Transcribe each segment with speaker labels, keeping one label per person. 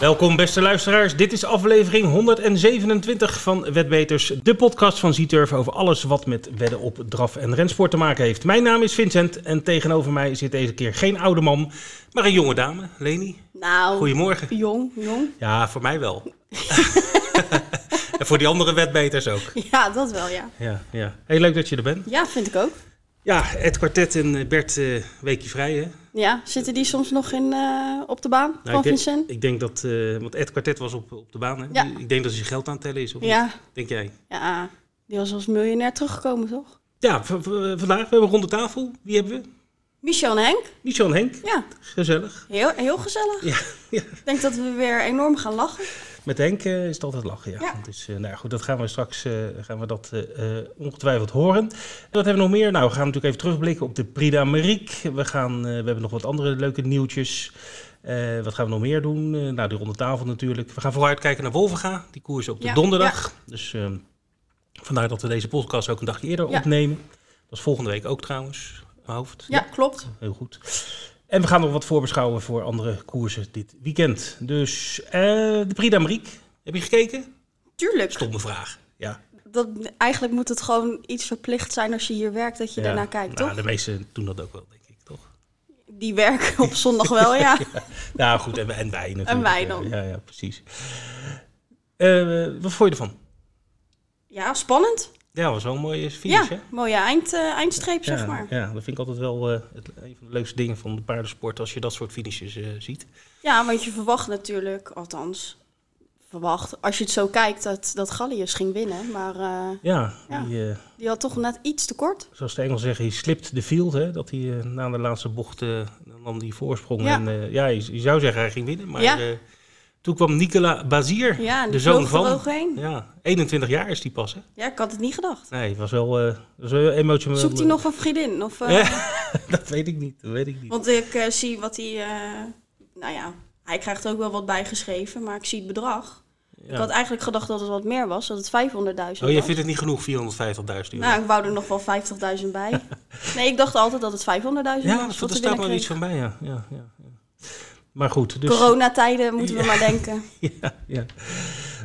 Speaker 1: Welkom beste luisteraars, dit is aflevering 127 van Wetbeters, de podcast van Zieturf over alles wat met wedden op draf en rensport te maken heeft. Mijn naam is Vincent en tegenover mij zit deze keer geen oude man, maar een jonge dame, Leni.
Speaker 2: Nou,
Speaker 1: Goedemorgen.
Speaker 2: jong, jong.
Speaker 1: Ja, voor mij wel. en voor die andere wetbeters ook.
Speaker 2: Ja, dat wel, ja.
Speaker 1: Ja, ja. Heel leuk dat je er bent.
Speaker 2: Ja, vind ik ook.
Speaker 1: Ja, het kwartet en eh, Bert eh, Weekje Vrij, hè?
Speaker 2: Ja, zitten die soms nog in, eh, op de baan
Speaker 1: Nou,
Speaker 2: van
Speaker 1: ik, denk,
Speaker 2: Vincent?
Speaker 1: ik denk dat, eh, want Ed Kwartet was op, op de baan, hè?
Speaker 2: Ja.
Speaker 1: Ik denk dat ze geld aan het tellen is, of niet?
Speaker 2: Ja,
Speaker 1: Denk jij?
Speaker 2: ja, die was als miljonair teruggekomen, toch?
Speaker 1: Ja, v- v- vandaag we hebben we rond de tafel. Wie hebben we?
Speaker 2: Michel en Henk,
Speaker 1: Michel en Henk.
Speaker 2: ja,
Speaker 1: Gezellig.
Speaker 2: heel, heel gezellig.
Speaker 1: Ja, ja.
Speaker 2: Ik denk dat we weer enorm gaan lachen.
Speaker 1: Met Henk eh, is het altijd lachen, ja.
Speaker 2: Ja.
Speaker 1: Dus eh, nou ja, goed, dat gaan we straks eh, gaan we dat, eh, eh, ongetwijfeld horen. En wat hebben we nog meer? Nou, we gaan natuurlijk even terugblikken op de Prida Mariek. We, gaan, eh, we hebben nog wat andere leuke nieuwtjes. Eh, wat gaan we nog meer doen? Eh, nou, die ronde tafel natuurlijk. We gaan vooruitkijken naar Wolvenga. Die koers op de
Speaker 2: Ja,
Speaker 1: donderdag. Dus eh, vandaar dat we deze podcast ook een dagje eerder
Speaker 2: Ja.
Speaker 1: opnemen. Dat is volgende week ook trouwens, uit mijn hoofd.
Speaker 2: Ja, klopt.
Speaker 1: Heel goed. En we gaan nog wat voorbeschouwen voor andere koersen dit weekend. Dus eh, de Prix d'Amérique. Heb je gekeken?
Speaker 2: Tuurlijk.
Speaker 1: Stomme vraag. Ja,
Speaker 2: Dat, eigenlijk moet het gewoon iets verplicht zijn als je hier werkt, dat je
Speaker 1: ja.
Speaker 2: daarnaar kijkt,
Speaker 1: Nou,
Speaker 2: toch?
Speaker 1: de meesten doen dat ook wel, denk ik, toch?
Speaker 2: Die werken op zondag wel, ja.
Speaker 1: Nou goed, en, en wij natuurlijk.
Speaker 2: En wij dan.
Speaker 1: Ja, ja, precies. Eh, wat vond je ervan?
Speaker 2: Ja, spannend.
Speaker 1: Ja, was wel een mooie finish,
Speaker 2: Ja,
Speaker 1: hè?
Speaker 2: mooie eind, eh, eindstreep,
Speaker 1: ja,
Speaker 2: zeg maar.
Speaker 1: Ja, dat vind ik altijd wel eh, het, een van de leukste dingen van de paardensport, als je dat soort finishes eh, ziet.
Speaker 2: Ja, want je verwacht natuurlijk, althans, verwacht, als je het zo kijkt, dat, dat Gallius ging winnen. Maar eh,
Speaker 1: Ja,
Speaker 2: Ja.
Speaker 1: Die, eh,
Speaker 2: die had toch net iets te kort.
Speaker 1: zoals de Engelsen zeggen, hij slipt de field. Hè? Dat hij eh, na de laatste bocht eh, dan nam die voorsprong.
Speaker 2: Ja.
Speaker 1: En eh, ja, je, je zou zeggen hij ging winnen. Maar
Speaker 2: Ja.
Speaker 1: eh, toen kwam Nicola Bazir,
Speaker 2: Ja, en
Speaker 1: de
Speaker 2: die
Speaker 1: zoon
Speaker 2: vloog er
Speaker 1: van.
Speaker 2: overheen.
Speaker 1: Ja, 21 jaar is die pas, hè?
Speaker 2: Ja, ik had het niet gedacht.
Speaker 1: Nee, het was wel, eh, het was wel emotioneel.
Speaker 2: Zoekt hij nog een vriendin? Of, eh,
Speaker 1: dat weet ik niet, dat weet ik niet.
Speaker 2: Want ik eh, zie wat hij... eh, nou ja, hij krijgt ook wel wat bijgeschreven, maar ik zie het bedrag. Ik
Speaker 1: Ja.
Speaker 2: had eigenlijk gedacht dat het wat meer was, dat het 500.000 was.
Speaker 1: Oh, jij vindt het niet genoeg, 450.000 euro?
Speaker 2: Nou, ik wou er nog wel 50.000 bij. nee, ik dacht altijd dat het 500.000 was.
Speaker 1: ja,
Speaker 2: wat
Speaker 1: dat
Speaker 2: we
Speaker 1: staat
Speaker 2: binnen
Speaker 1: maar
Speaker 2: kregen.
Speaker 1: iets van bij, ja. ja, ja, ja. Maar goed, dus...
Speaker 2: Coronatijden moeten we maar denken.
Speaker 1: ja, ja.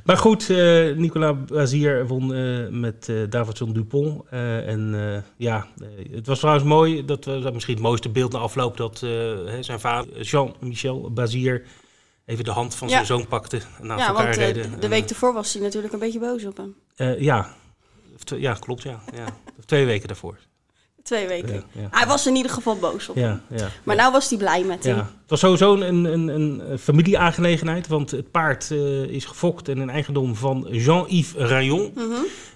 Speaker 1: Maar goed, eh Nicolas Brazier won eh, met eh, Davidson Dupont. Eh, en eh, ja, eh, het was trouwens mooi. Dat was misschien het mooiste beeld na afloop. Dat eh, hè, zijn vader, Jean-Michel Brazier, even de hand van
Speaker 2: Ja.
Speaker 1: zijn zoon pakte. En naast
Speaker 2: Ja,
Speaker 1: elkaar
Speaker 2: want eh,
Speaker 1: reden.
Speaker 2: de
Speaker 1: En,
Speaker 2: week ervoor was hij natuurlijk een beetje boos op hem.
Speaker 1: eh, ja. Of twee- ja, klopt, ja. ja. Of twee weken daarvoor.
Speaker 2: Twee weken.
Speaker 1: Ja, ja.
Speaker 2: Hij was in ieder geval boos op.
Speaker 1: Ja, ja.
Speaker 2: Maar nou was hij blij met hem.
Speaker 1: Ja, het was sowieso een, een, een familieaangelegenheid, want het paard eh, is gefokt en in eigendom van Jean-Yves Rayon.
Speaker 2: Mhm.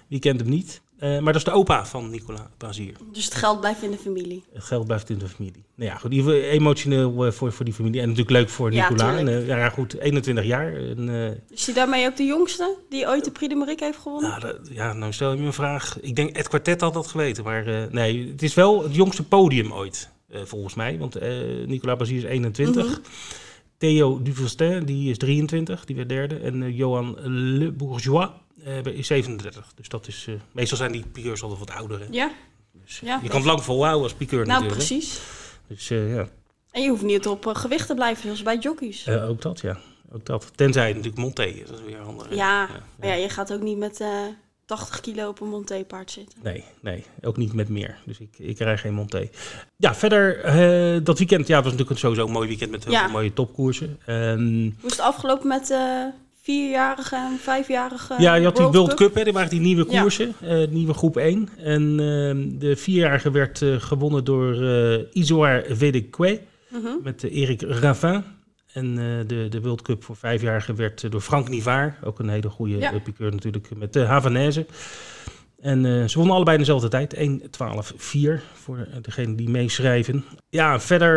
Speaker 1: Wie kent hem niet? Eh, maar dat is de opa van Nicolas Bazier.
Speaker 2: Dus het geld blijft in de familie.
Speaker 1: Het geld blijft in de familie. Nou ja, goed, in ieder geval emotioneel eh, voor, voor die familie en natuurlijk leuk voor
Speaker 2: Ja,
Speaker 1: Nicolas. en,
Speaker 2: tuurlijk.
Speaker 1: eh, ja, goed, 21 jaar. En, eh,
Speaker 2: Is hij daarmee ook de jongste die ooit de Prix de Mariek heeft gewonnen?
Speaker 1: nou, dat- ja, nou stel je me een vraag. Ik denk, het kwartet had dat geweten, maar eh, nee, het is wel het jongste podium ooit, eh, volgens mij. Want eh, Nicolas Bazier is 21.
Speaker 2: Mhm.
Speaker 1: Theo Duvestin, die is 23, die werd derde. En eh, Johan Le Bourgeois eh, is 37. Dus dat is, eh, meestal zijn die piqueurs altijd wat ouder. Hè?
Speaker 2: Ja,
Speaker 1: Dus,
Speaker 2: ja.
Speaker 1: Je kan het lang volhouden als piqueur
Speaker 2: nou
Speaker 1: natuurlijk. hè.
Speaker 2: precies.
Speaker 1: Dus eh, ja,
Speaker 2: En je hoeft niet op eh, gewicht te blijven, zoals bij jockeys. Ja,
Speaker 1: Eh, ook dat ja. Ook dat. Tenzij natuurlijk Monté, is, dat is weer een andere.
Speaker 2: maar ja, je gaat ook niet met eh 80 kilo op een Monté-paard zitten.
Speaker 1: Nee, nee, ook niet met meer. Dus ik, ik krijg geen Monté. Ja, verder eh, dat weekend. Ja, het was natuurlijk sowieso een mooi weekend met heel
Speaker 2: Ja.
Speaker 1: veel mooie topkoersen. Ehm,
Speaker 2: Hoe is het afgelopen met eh vierjarige en vijfjarige
Speaker 1: Ja, je had die World Cup, hè, die waren die nieuwe
Speaker 2: Eh, Ja.
Speaker 1: koersen, eh, nieuwe groep 1. En ehm, de vierjarige werd eh, gewonnen door eh Isoar Vedekwe
Speaker 2: Mhm.
Speaker 1: met eh, Erik Ravin. En eh, de, de World Cup voor vijfjarigen werd eh, door Frank Nivaar, ook een hele goede
Speaker 2: Ja.
Speaker 1: eh, piqueur natuurlijk, met de Havanaise. En eh, ze wonnen allebei in dezelfde tijd, 1-12-4, voor eh, degene die meeschrijven. Ja, verder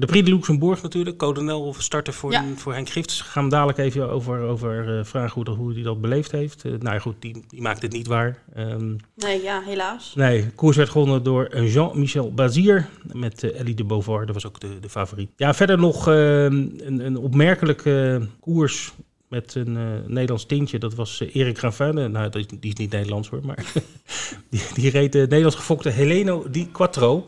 Speaker 1: de Prix de Luxemburg natuurlijk. Codenel starten voor,
Speaker 2: Ja.
Speaker 1: voor Henk Gifts. Gaan we dadelijk even over, over eh, vragen hoe, dat- hoe hij dat beleefd heeft. Eh, nou ja, goed, die, die maakt het niet waar. Ehm,
Speaker 2: Nee, ja, helaas.
Speaker 1: nee, de koers werd gewonnen door eh, Jean-Michel Bazier met eh, Ellie de Beauvoir. Dat was ook de, de favoriet. Ja, verder nog ehm, een, een opmerkelijke koers met een eh, Nederlands tintje. Dat was eh, Erik Ravin. Eh, Nou, dat is- die is niet Nederlands hoor, maar die, die reed de Nederlands gefokte Heleno Di Quattro.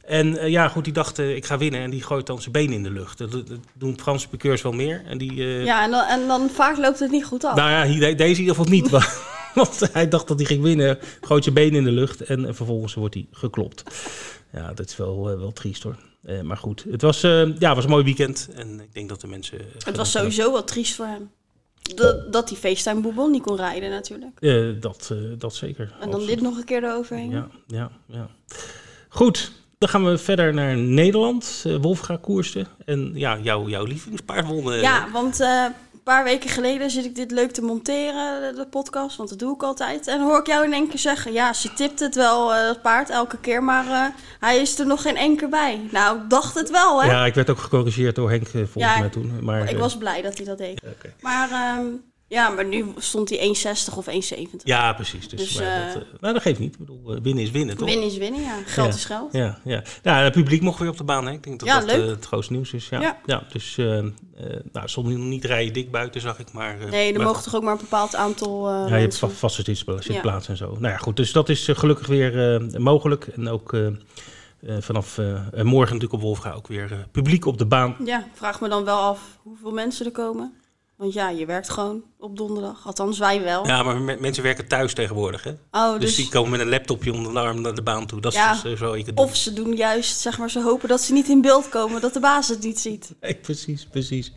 Speaker 1: Eh, En eh, ja, goed, die dacht eh, ik ga winnen en die gooit dan zijn been in de lucht. Dat, dat doen Franse piqueurs wel meer. En die, eh,
Speaker 2: Ja, en dan, en dan vaak loopt het niet goed af.
Speaker 1: Nou ja, hier- deze in ieder geval niet. want- Want hij dacht dat hij ging winnen, gooit zijn been in de lucht en eh, vervolgens wordt hij geklopt. Ja, dat is wel, eh, wel triest hoor. Eh, maar goed, het was, eh, ja, het was een mooi weekend en ik denk dat de mensen...
Speaker 2: het was sowieso wel triest voor hem. Dat, dat die FaceTime Boubon niet kon rijden natuurlijk.
Speaker 1: Eh, dat, eh, dat zeker.
Speaker 2: En dan
Speaker 1: Absoluut.
Speaker 2: dit nog een keer eroverheen.
Speaker 1: Ja, ja, ja. Goed, dan gaan we verder naar Nederland. Eh Wolfga koerste. En ja, jouw, jouw lievelingspaard won. eh,
Speaker 2: Ja, want eh, een paar weken geleden zit ik dit leuk te monteren, de, de podcast, want dat doe ik altijd. En hoor ik jou in één keer zeggen, ja, ze tipt het wel, eh, dat paard, elke keer, maar eh, hij is er nog geen één keer bij. Nou, ik dacht het wel, hè?
Speaker 1: Ja, ik werd ook gecorrigeerd door Henk eh, volgens
Speaker 2: Ja,
Speaker 1: mij toen. Maar,
Speaker 2: ik
Speaker 1: eh,
Speaker 2: was blij dat hij dat deed.
Speaker 1: oké.
Speaker 2: Maar, ehm, ja, maar nu stond hij 1,60 of 1,70.
Speaker 1: Ja, precies. Dus,
Speaker 2: Dus,
Speaker 1: maar
Speaker 2: eh,
Speaker 1: dat, eh, nou, dat geeft niet. Ik bedoel, eh, winnen is winnen, toch?
Speaker 2: Winnen is winnen, ja. Geld
Speaker 1: Ja.
Speaker 2: is geld.
Speaker 1: Ja, ja. ja, het publiek mocht weer op de baan. Hè? Ik denk dat
Speaker 2: Ja,
Speaker 1: dat eh,
Speaker 2: leuk.
Speaker 1: het grootste nieuws is. Ja, ja.
Speaker 2: Ja.
Speaker 1: dus eh eh nou, stond nog niet rijden dik buiten, zag ik. Maar, eh,
Speaker 2: Nee, er
Speaker 1: maar
Speaker 2: mogen toch ook maar een bepaald aantal eh,
Speaker 1: Ja, je hebt
Speaker 2: mensen.
Speaker 1: va- vast het
Speaker 2: Ja.
Speaker 1: plaats en zo. Nou ja, goed. Dus dat is eh, gelukkig weer eh, mogelijk. En ook eh, eh, vanaf eh, eh, morgen natuurlijk op Wolfga ook weer eh, publiek op de baan.
Speaker 2: Ja, ik vraag me dan wel af hoeveel mensen er komen. Want ja, je werkt gewoon op donderdag. Althans, wij wel.
Speaker 1: Ja, maar me- mensen werken thuis tegenwoordig, hè?
Speaker 2: Oh,
Speaker 1: Dus,
Speaker 2: dus,
Speaker 1: die komen met een laptopje onder de arm naar de baan toe. Dat
Speaker 2: Ja.
Speaker 1: is dus, eh, zo ik het doe.
Speaker 2: Of ze doen juist, zeg maar, ze hopen dat ze niet in beeld komen, dat de baas het niet ziet.
Speaker 1: Nee, precies, precies.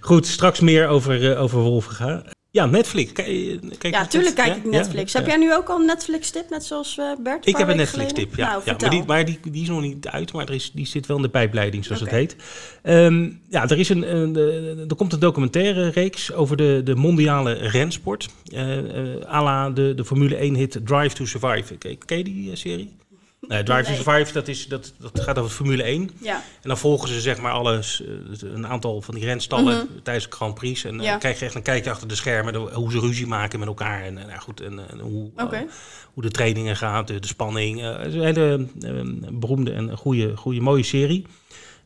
Speaker 1: Goed, straks meer over, eh, over Wolfga. Ja, Netflix. Kijk, kijk
Speaker 2: ja, tuurlijk kijk ik Netflix. Heb
Speaker 1: jij
Speaker 2: jij nu ook al een Netflix-tip, net zoals eh, Bert?
Speaker 1: Ik
Speaker 2: paar
Speaker 1: heb een
Speaker 2: weken geleden?
Speaker 1: Netflix-tip, ja.
Speaker 2: Nou,
Speaker 1: ja
Speaker 2: vertel.
Speaker 1: maar die, maar die, die is nog niet uit, maar er is, die zit wel in de pijpleiding, zoals
Speaker 2: Oké.
Speaker 1: het heet. Ehm, ja, er, is een, een, eh, er komt een documentaire reeks over de, de mondiale rensport. Eh eh, à la de, de Formule 1-hit Drive to Survive. Ken, ken je die eh, serie? Nee, Drive
Speaker 2: Nee.
Speaker 1: to Survive, dat, is, dat, dat gaat over Formule 1.
Speaker 2: Ja,
Speaker 1: En dan volgen ze zeg maar alles, eh, een aantal van die renstallen tijdens de Grand Prix. En eh,
Speaker 2: Mhm. Ja.
Speaker 1: dan krijg je echt een kijkje achter de schermen, de- hoe ze ruzie maken met elkaar. En, eh, nou goed, en, eh, en hoe, eh,
Speaker 2: Oké.
Speaker 1: hoe de trainingen gaan, de, de spanning. Eh, het is een hele eh, beroemde en goede, goede, mooie serie.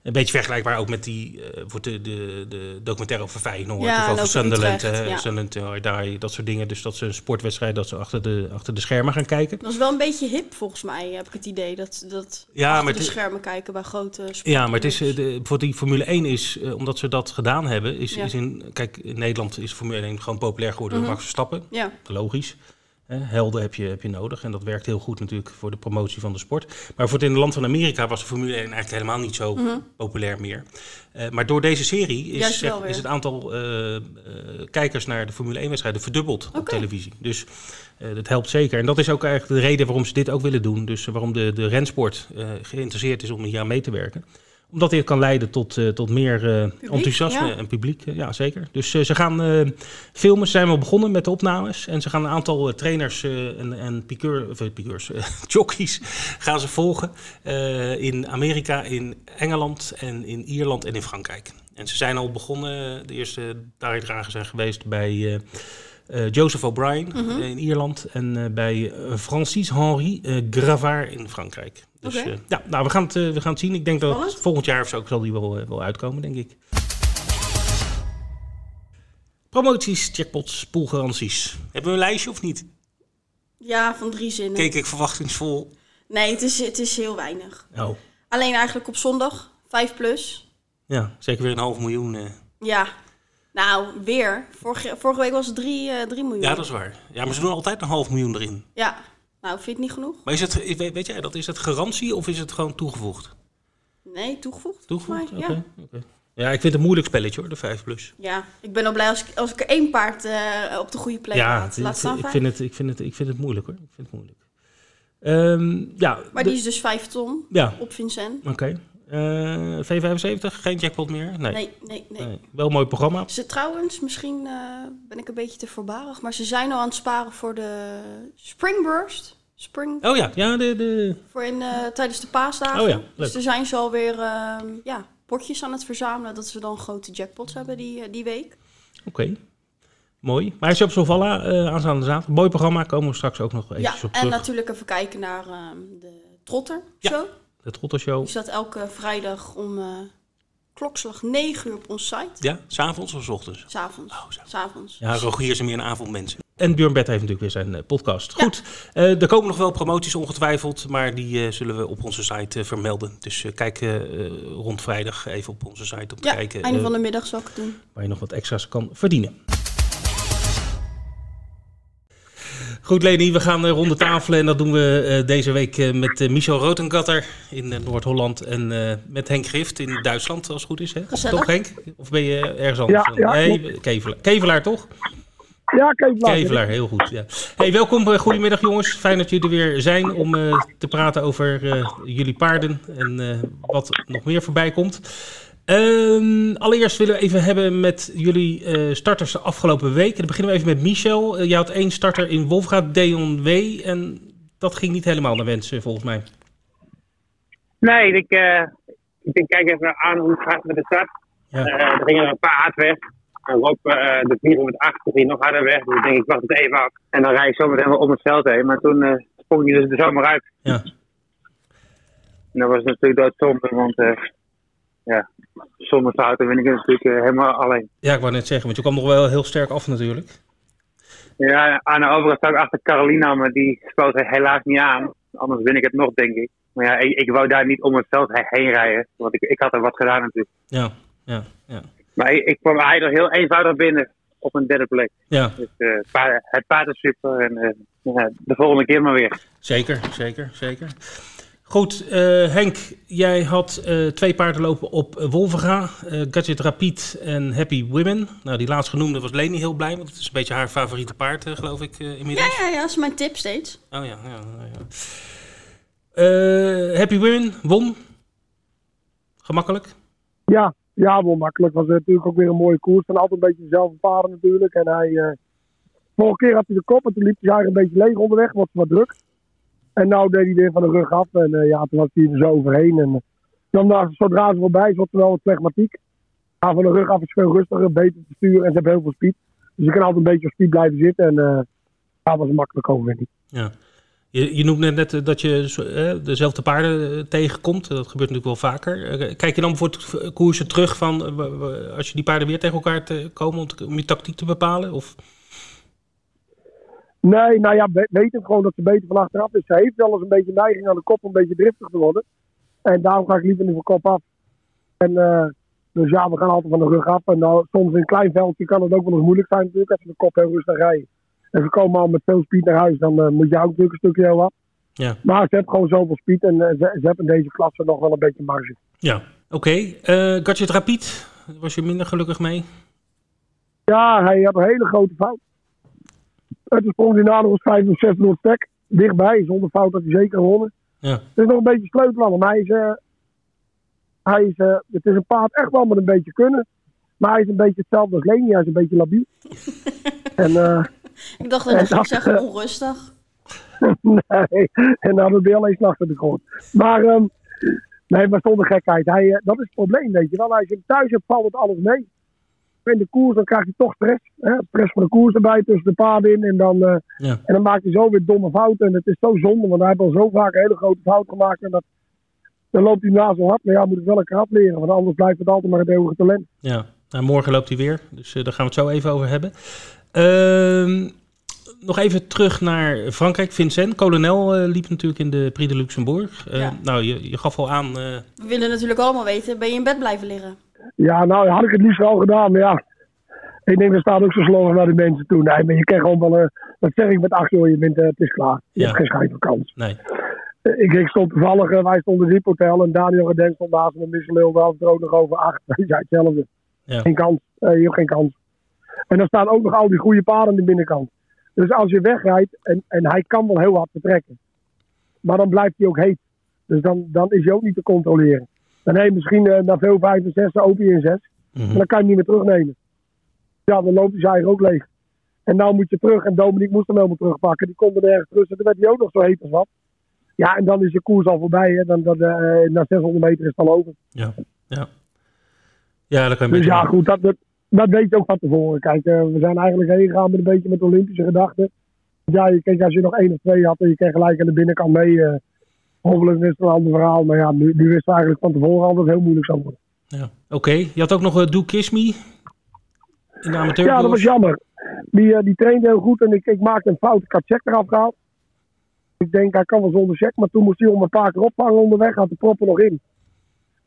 Speaker 1: Een beetje vergelijkbaar ook met die, eh, wordt de, de, de documentaire over Feyenoord
Speaker 2: Ja,
Speaker 1: of
Speaker 2: en
Speaker 1: over
Speaker 2: over
Speaker 1: Sunderland.
Speaker 2: Utrecht,
Speaker 1: eh,
Speaker 2: ja.
Speaker 1: Sunderland, eh, Dai, dat soort dingen. Dus dat ze een sportwedstrijd, dat ze achter de, achter de schermen gaan kijken.
Speaker 2: dat is wel een beetje hip volgens mij, heb ik het idee. Dat, dat
Speaker 1: Ja,
Speaker 2: achter
Speaker 1: maar
Speaker 2: de
Speaker 1: het-
Speaker 2: schermen kijken bij grote sporten.
Speaker 1: Ja, maar het is, eh, de, voor die Formule 1 is, eh, omdat ze dat gedaan hebben, is,
Speaker 2: Ja. Mhm.
Speaker 1: is in, kijk, in Nederland is Formule 1 gewoon populair geworden door Max Verstappen.
Speaker 2: Ja,
Speaker 1: Logisch. Hè, helden heb je, heb je nodig en dat werkt heel goed natuurlijk voor de promotie van de sport. Maar voor het in het land van Amerika was de Formule 1 eigenlijk helemaal niet zo populair meer. Eh, maar door deze serie is,
Speaker 2: Mhm. Juist wel
Speaker 1: zeg-
Speaker 2: weer.
Speaker 1: is het aantal eh, eh, kijkers naar de Formule 1-wedstrijden verdubbeld op
Speaker 2: Oké.
Speaker 1: televisie. Dus eh, dat helpt zeker. En dat is ook eigenlijk de reden waarom ze dit ook willen doen. Dus eh, waarom de, de rensport eh, geïnteresseerd is om hier aan mee te werken. Omdat dit kan leiden tot, eh, tot meer eh, enthousiasme
Speaker 2: ja.
Speaker 1: en publiek. eh, ja, zeker. Dus eh, ze gaan eh, filmen. Ze zijn wel begonnen met de opnames. En ze gaan een aantal eh, trainers eh, en, en piqueur, of, eh, piqueurs, eh, jockeys gaan ze volgen. eh, in Amerika, in Engeland en in Ierland en in Frankrijk. En ze zijn al begonnen. eh, De eerste taaidragen zijn geweest bij... eh, eh, Joseph O'Brien
Speaker 2: Mhm.
Speaker 1: eh, in Ierland en eh, bij eh, Francis Henri eh, Gravard in Frankrijk. Dus
Speaker 2: Oké.
Speaker 1: eh, ja, nou, we gaan, het, eh, we gaan het zien. Ik denk dat
Speaker 2: Spannend.
Speaker 1: volgend jaar of zo zal die wel, eh, wel uitkomen, denk ik. Promoties, jackpots, poolgaranties. Hebben we een lijstje of niet?
Speaker 2: ja van drie zinnen.
Speaker 1: Keek ik verwachtingsvol.
Speaker 2: Nee, het is, het is heel weinig.
Speaker 1: Oh,
Speaker 2: Alleen eigenlijk op zondag, 5 plus.
Speaker 1: ja, zeker weer een half miljoen. eh.
Speaker 2: Ja. Nou, weer. Vorige, vorige week was het 3 miljoen.
Speaker 1: Ja, dat is waar. Ja, maar ze doen altijd een half miljoen erin.
Speaker 2: Ja. Nou, vind je het niet genoeg?
Speaker 1: Maar is het, weet, weet jij dat? Is dat garantie of is het gewoon toegevoegd?
Speaker 2: Nee, toegevoegd.
Speaker 1: Toegevoegd?
Speaker 2: volgens mij.
Speaker 1: Oké, oké. ja, ik vind het een moeilijk spelletje hoor, de 5 plus.
Speaker 2: Ja. ja. Ik ben al blij als ik, als ik er één paard eh, op de goede plek
Speaker 1: ja,
Speaker 2: laat.
Speaker 1: ik-
Speaker 2: Laat staan
Speaker 1: ik,
Speaker 2: vijf.
Speaker 1: vind het, ik, vind het, ik vind het moeilijk hoor. Ik vind het moeilijk. Ehm, ja,
Speaker 2: Maar
Speaker 1: de-
Speaker 2: die is dus 5 ton
Speaker 1: ja
Speaker 2: op Vincent.
Speaker 1: oké. Eh, V75, geen jackpot meer? Nee.
Speaker 2: Nee, nee, nee.
Speaker 1: Nee. Wel een mooi programma.
Speaker 2: Ze trouwens, misschien eh, ben ik een beetje te voorbarig, maar ze zijn al aan het sparen voor de Springburst. Spring
Speaker 1: Oh ja, ja de, de...
Speaker 2: voor in, eh, tijdens de paasdagen.
Speaker 1: Oh ja, leuk.
Speaker 2: dus er zijn ze alweer ehm ja, potjes aan het verzamelen dat ze dan grote jackpots hebben die, eh, die week.
Speaker 1: oké. Mooi. Maar hij is op Solvalla eh aanstaande zaterdag. Mooi programma, komen we straks ook nog even
Speaker 2: Ja,
Speaker 1: op
Speaker 2: en
Speaker 1: terug.
Speaker 2: natuurlijk even kijken naar ehm, de Trotter
Speaker 1: Ja.
Speaker 2: Show.
Speaker 1: De Trottelshow.
Speaker 2: Die staat elke vrijdag om eh, klokslag 9 uur op ons site.
Speaker 1: Ja, s'avonds of s ochtends?
Speaker 2: S'avonds.
Speaker 1: Oh, zo.
Speaker 2: S'avonds.
Speaker 1: Ja, Rogier is meer een avondmens. En Björn Bert heeft natuurlijk weer zijn eh, podcast.
Speaker 2: Ja.
Speaker 1: Goed, eh, er komen nog wel promoties ongetwijfeld, maar die eh, zullen we op onze site eh, vermelden. Dus eh, kijk eh, eh, rond vrijdag even op onze site om te
Speaker 2: Ja,
Speaker 1: kijken
Speaker 2: einde
Speaker 1: eh,
Speaker 2: van de middag zal ik het doen.
Speaker 1: waar je nog wat extra's kan verdienen. Goed, Leni, we gaan eh, rond de tafel en dat doen we eh, deze week eh, met eh, Michel Rotengatter in eh, Noord-Holland en eh, met Henk Gift in Duitsland, als het goed is. Hè?
Speaker 2: Gezellig.
Speaker 1: Toch, Henk? Of ben je ergens anders?
Speaker 3: Ja, ja,
Speaker 1: nee, Kevelaar, Kevelaar toch?
Speaker 3: Ja, Kevelaar.
Speaker 1: Kevelaar, heel goed. Ja. Hey, welkom, eh, goedemiddag jongens. Fijn dat jullie er weer zijn om eh, te praten over eh, jullie paarden en eh, wat nog meer voorbij komt. Ehm, allereerst willen we even hebben met jullie eh, starters de afgelopen week. En dan beginnen we even met Michel. Eh, jij had één starter in Wolfgaard, Deon W. En dat ging niet helemaal naar wens, eh, volgens mij.
Speaker 4: Nee, ik, eh, ik denk, kijk even aan hoe het gaat met de start.
Speaker 1: Ja.
Speaker 4: Eh, er gingen er een paar hard weg. En Rob, eh, de 480 ging nog harder weg. Dus ik denk, ik wacht het even af. En dan rijd ik zo meteen wel om het veld heen. Maar toen eh sprong hij dus er zomaar uit.
Speaker 1: Ja.
Speaker 4: En dat was natuurlijk doodzonde, want eh, ja, zonder fouten win ik het natuurlijk eh, helemaal alleen.
Speaker 1: ja, ik wou net zeggen, want je kwam nog wel heel sterk af natuurlijk.
Speaker 4: Ja, aan de overkant sta ik achter Carolina, maar die spoot hij helaas niet aan. Anders win ik het nog, denk ik. Maar ja, ik, ik wou daar niet om het veld heen rijden. Want ik, ik had er wat gedaan natuurlijk.
Speaker 1: Ja, ja, ja.
Speaker 4: Maar ik, ik kwam eigenlijk heel eenvoudig binnen op een derde plek.
Speaker 1: Ja,
Speaker 4: Dus eh, het paard- het paard is super en eh, ja, de volgende keer maar weer.
Speaker 1: Zeker, zeker, zeker. Goed, eh, Henk, jij had eh, twee paarden lopen op eh, Wolvega, eh, Gadget Rapid en Happy Women. Nou, die laatstgenoemde was Leni heel blij, want het is een beetje haar favoriete paard, eh, geloof ik, eh,
Speaker 2: Ja,
Speaker 1: inmiddels.
Speaker 2: Ah, ja, ja, dat is mijn tip steeds.
Speaker 1: Oh ja, ja, ja. ja. Eh, Happy Women won. Gemakkelijk.
Speaker 3: Ja, ja, wel makkelijk. Was natuurlijk ook weer een mooie koers. En altijd een beetje dezelfde paarden natuurlijk. En hij, eh, vorige keer had hij de kop en toen liep hij eigenlijk een beetje leeg onderweg. Was wat druk. En nou deed hij weer van de rug af. En eh, ja, toen was hij er zo overheen. En eh, dan daar, zodra ze voorbij is, wordt er wel wat flegmatiek. Maar van de rug af is veel rustiger, beter te sturen. En ze hebben heel veel speed. Dus ze kan altijd een beetje op speed blijven zitten. En eh daar was een makkelijk overwinning.
Speaker 1: Ja. Je, je noemt net, net eh, dat je zo- eh, dezelfde paarden eh, tegenkomt. Dat gebeurt natuurlijk wel vaker. Eh, Kijk je dan bijvoorbeeld koersen terug van eh, wa- wa- als je die paarden weer tegen elkaar te komen om, te- om je tactiek te bepalen? Of,
Speaker 3: Nee, nou ja, we- weten gewoon dat ze beter van achteraf is. Ze heeft wel eens een beetje neiging aan de kop om een beetje driftig te worden. En daarom ga ik liever nu van kop af. En, eh, dus ja, we gaan altijd van de rug af. En nou, soms in een klein veldje kan het ook wel eens moeilijk zijn natuurlijk als ze de kop heel rustig rijden. En ze komen al met veel speed naar huis, dan eh, moet je ook natuurlijk een stukje heel wat.
Speaker 1: Ja.
Speaker 3: Maar ze hebben gewoon zoveel speed en eh, ze, ze hebben in deze klasse nog wel een beetje marge.
Speaker 1: ja. Oké. Eh Gadget Rapid, daar was je minder gelukkig mee?
Speaker 3: Ja, hij had een hele grote fout. Het is sprong die nader was 5 of 6 door het stek. Dichtbij, zonder fout had hij zeker gewonnen.
Speaker 1: Ja.
Speaker 3: Het is nog een beetje sleutelen aan hem. Hij is, eh, hij is, eh, het is een paard echt wel met een beetje kunnen. Maar hij is een beetje hetzelfde als Leni. Hij is een beetje labiel. en, eh,
Speaker 2: Ik dacht dat je
Speaker 3: En
Speaker 2: ging
Speaker 3: dat,
Speaker 2: zeggen
Speaker 3: eh,
Speaker 2: onrustig.
Speaker 3: nee, en dan hadden we weer alleen s'nachts de grond. Maar, ehm, nee, maar zonder gekheid. Hij, eh, dat is het probleem, weet je wel. Als je hem thuis hebt, valt het alles mee. In de koers, dan krijg je toch stress. Hè? Stress van de koers erbij, tussen de paarden in. En dan, eh,
Speaker 1: Ja.
Speaker 3: en dan maak je zo weer domme fouten. En het is zo zonde, want hij heeft al zo vaak een hele grote fout gemaakt. En dat, dan loopt hij naast zo hard. Maar ja, hij moet het wel een keer afleren. Want anders blijft het altijd maar het eeuwige talent.
Speaker 1: ja. Nou, morgen loopt hij weer, dus eh, daar gaan we het zo even over hebben. Ehm, nog even terug naar Frankrijk. Vincent, kolonel eh, liep natuurlijk in de Prix de Luxembourg. Eh,
Speaker 2: Ja.
Speaker 1: Nou, je, je gaf al aan... eh,
Speaker 2: We willen natuurlijk allemaal weten, ben je in bed blijven liggen?
Speaker 3: Ja, nou had ik het liefst wel gedaan, maar ja. Ik denk, er staat ook zo slogan naar de mensen toe. Nee, maar je krijgt gewoon wel, eh, dat zeg ik met acht uur, je bent, eh, het is klaar. Je
Speaker 1: Ja.
Speaker 3: hebt geen schijn van kans.
Speaker 1: nee.
Speaker 3: Eh, Ik, ik stond toevallig, eh, wij stonden in het hotel en Daniel Reden stond naast me en Missel daar was er ook nog over acht. ja, hetzelfde.
Speaker 1: Ja.
Speaker 3: Geen kans, Eh, je hebt geen kans. En dan staan ook nog al die goede paarden aan de binnenkant. Dus als je wegrijdt, en, en hij kan wel heel hard vertrekken. Maar dan blijft hij ook heet. Dus dan, dan is hij ook niet te controleren. Dan heb je misschien eh, na veel vijf en zes, open in zes. En
Speaker 1: Mhm.
Speaker 3: dan kan je hem niet meer terugnemen. Ja, dan loopt hij zijn eigen ook leeg. En nou moet je terug. En Dominique moest hem helemaal terugpakken. Die kon er nergens terug. En toen werd hij ook nog zo heet als wat. Ja, en dan is de koers al voorbij. Hè. Dan, dan, eh, na 600 meter is het al over.
Speaker 1: Ja. Ja. Ja, daar kan je een
Speaker 3: Dus
Speaker 1: beetje
Speaker 3: ja, goed. Dat, dat, dat weet je ook van tevoren. Kijk, eh, we zijn eigenlijk heen gegaan met een beetje met Olympische gedachten. Ja, je- kijk, als je nog één of twee had en je kreeg gelijk aan de binnenkant mee. eh hopelijk is het een ander verhaal. Maar ja, nu, nu wisten we eigenlijk van tevoren al dat het heel moeilijk zou worden.
Speaker 1: Ja. Oké, je had ook nog eh Do Kiss Me. In de amateur.
Speaker 3: Ja, dat was jammer. Die, eh, die trainde heel goed en ik, ik maakte een fout. Ik had check eraf gehaald. Ik denk, hij kan wel zonder check. Maar toen moest hij om een paar keer opvangen onderweg. Had de proppen nog in.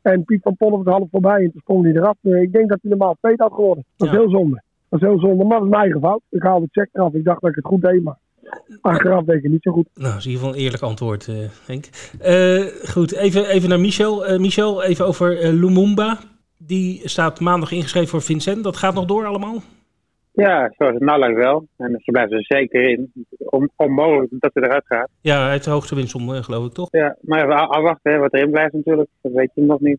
Speaker 3: En Piet van Pollen was half voorbij en toen sprong hij eraf. Eh, Ik denk dat hij normaal tweede had geworden. Dat is
Speaker 1: Ja.
Speaker 3: heel zonde. Dat is heel zonde. Maar dat is mijn eigen fout. Ik haalde de check eraf. Ik dacht dat ik het goed deed, maar achteraf deed ik het niet zo goed.
Speaker 1: Nou, dat is in ieder geval een eerlijk antwoord, eh Henk. Eh, goed, even, even naar Michel. Eh, Michel, even over eh, Lumumba. Die staat maandag ingeschreven voor Vincent. Dat gaat nog door allemaal?
Speaker 4: Ja, zoals het nou lijkt wel. En ze blijven er zeker in. On- onmogelijk dat ze eruit gaat.
Speaker 1: Ja, hij heeft de hoogste winstsom, eh, geloof ik, toch?
Speaker 4: Ja, maar even a- afwachten hè, wat erin blijft natuurlijk. Dat weet je nog niet.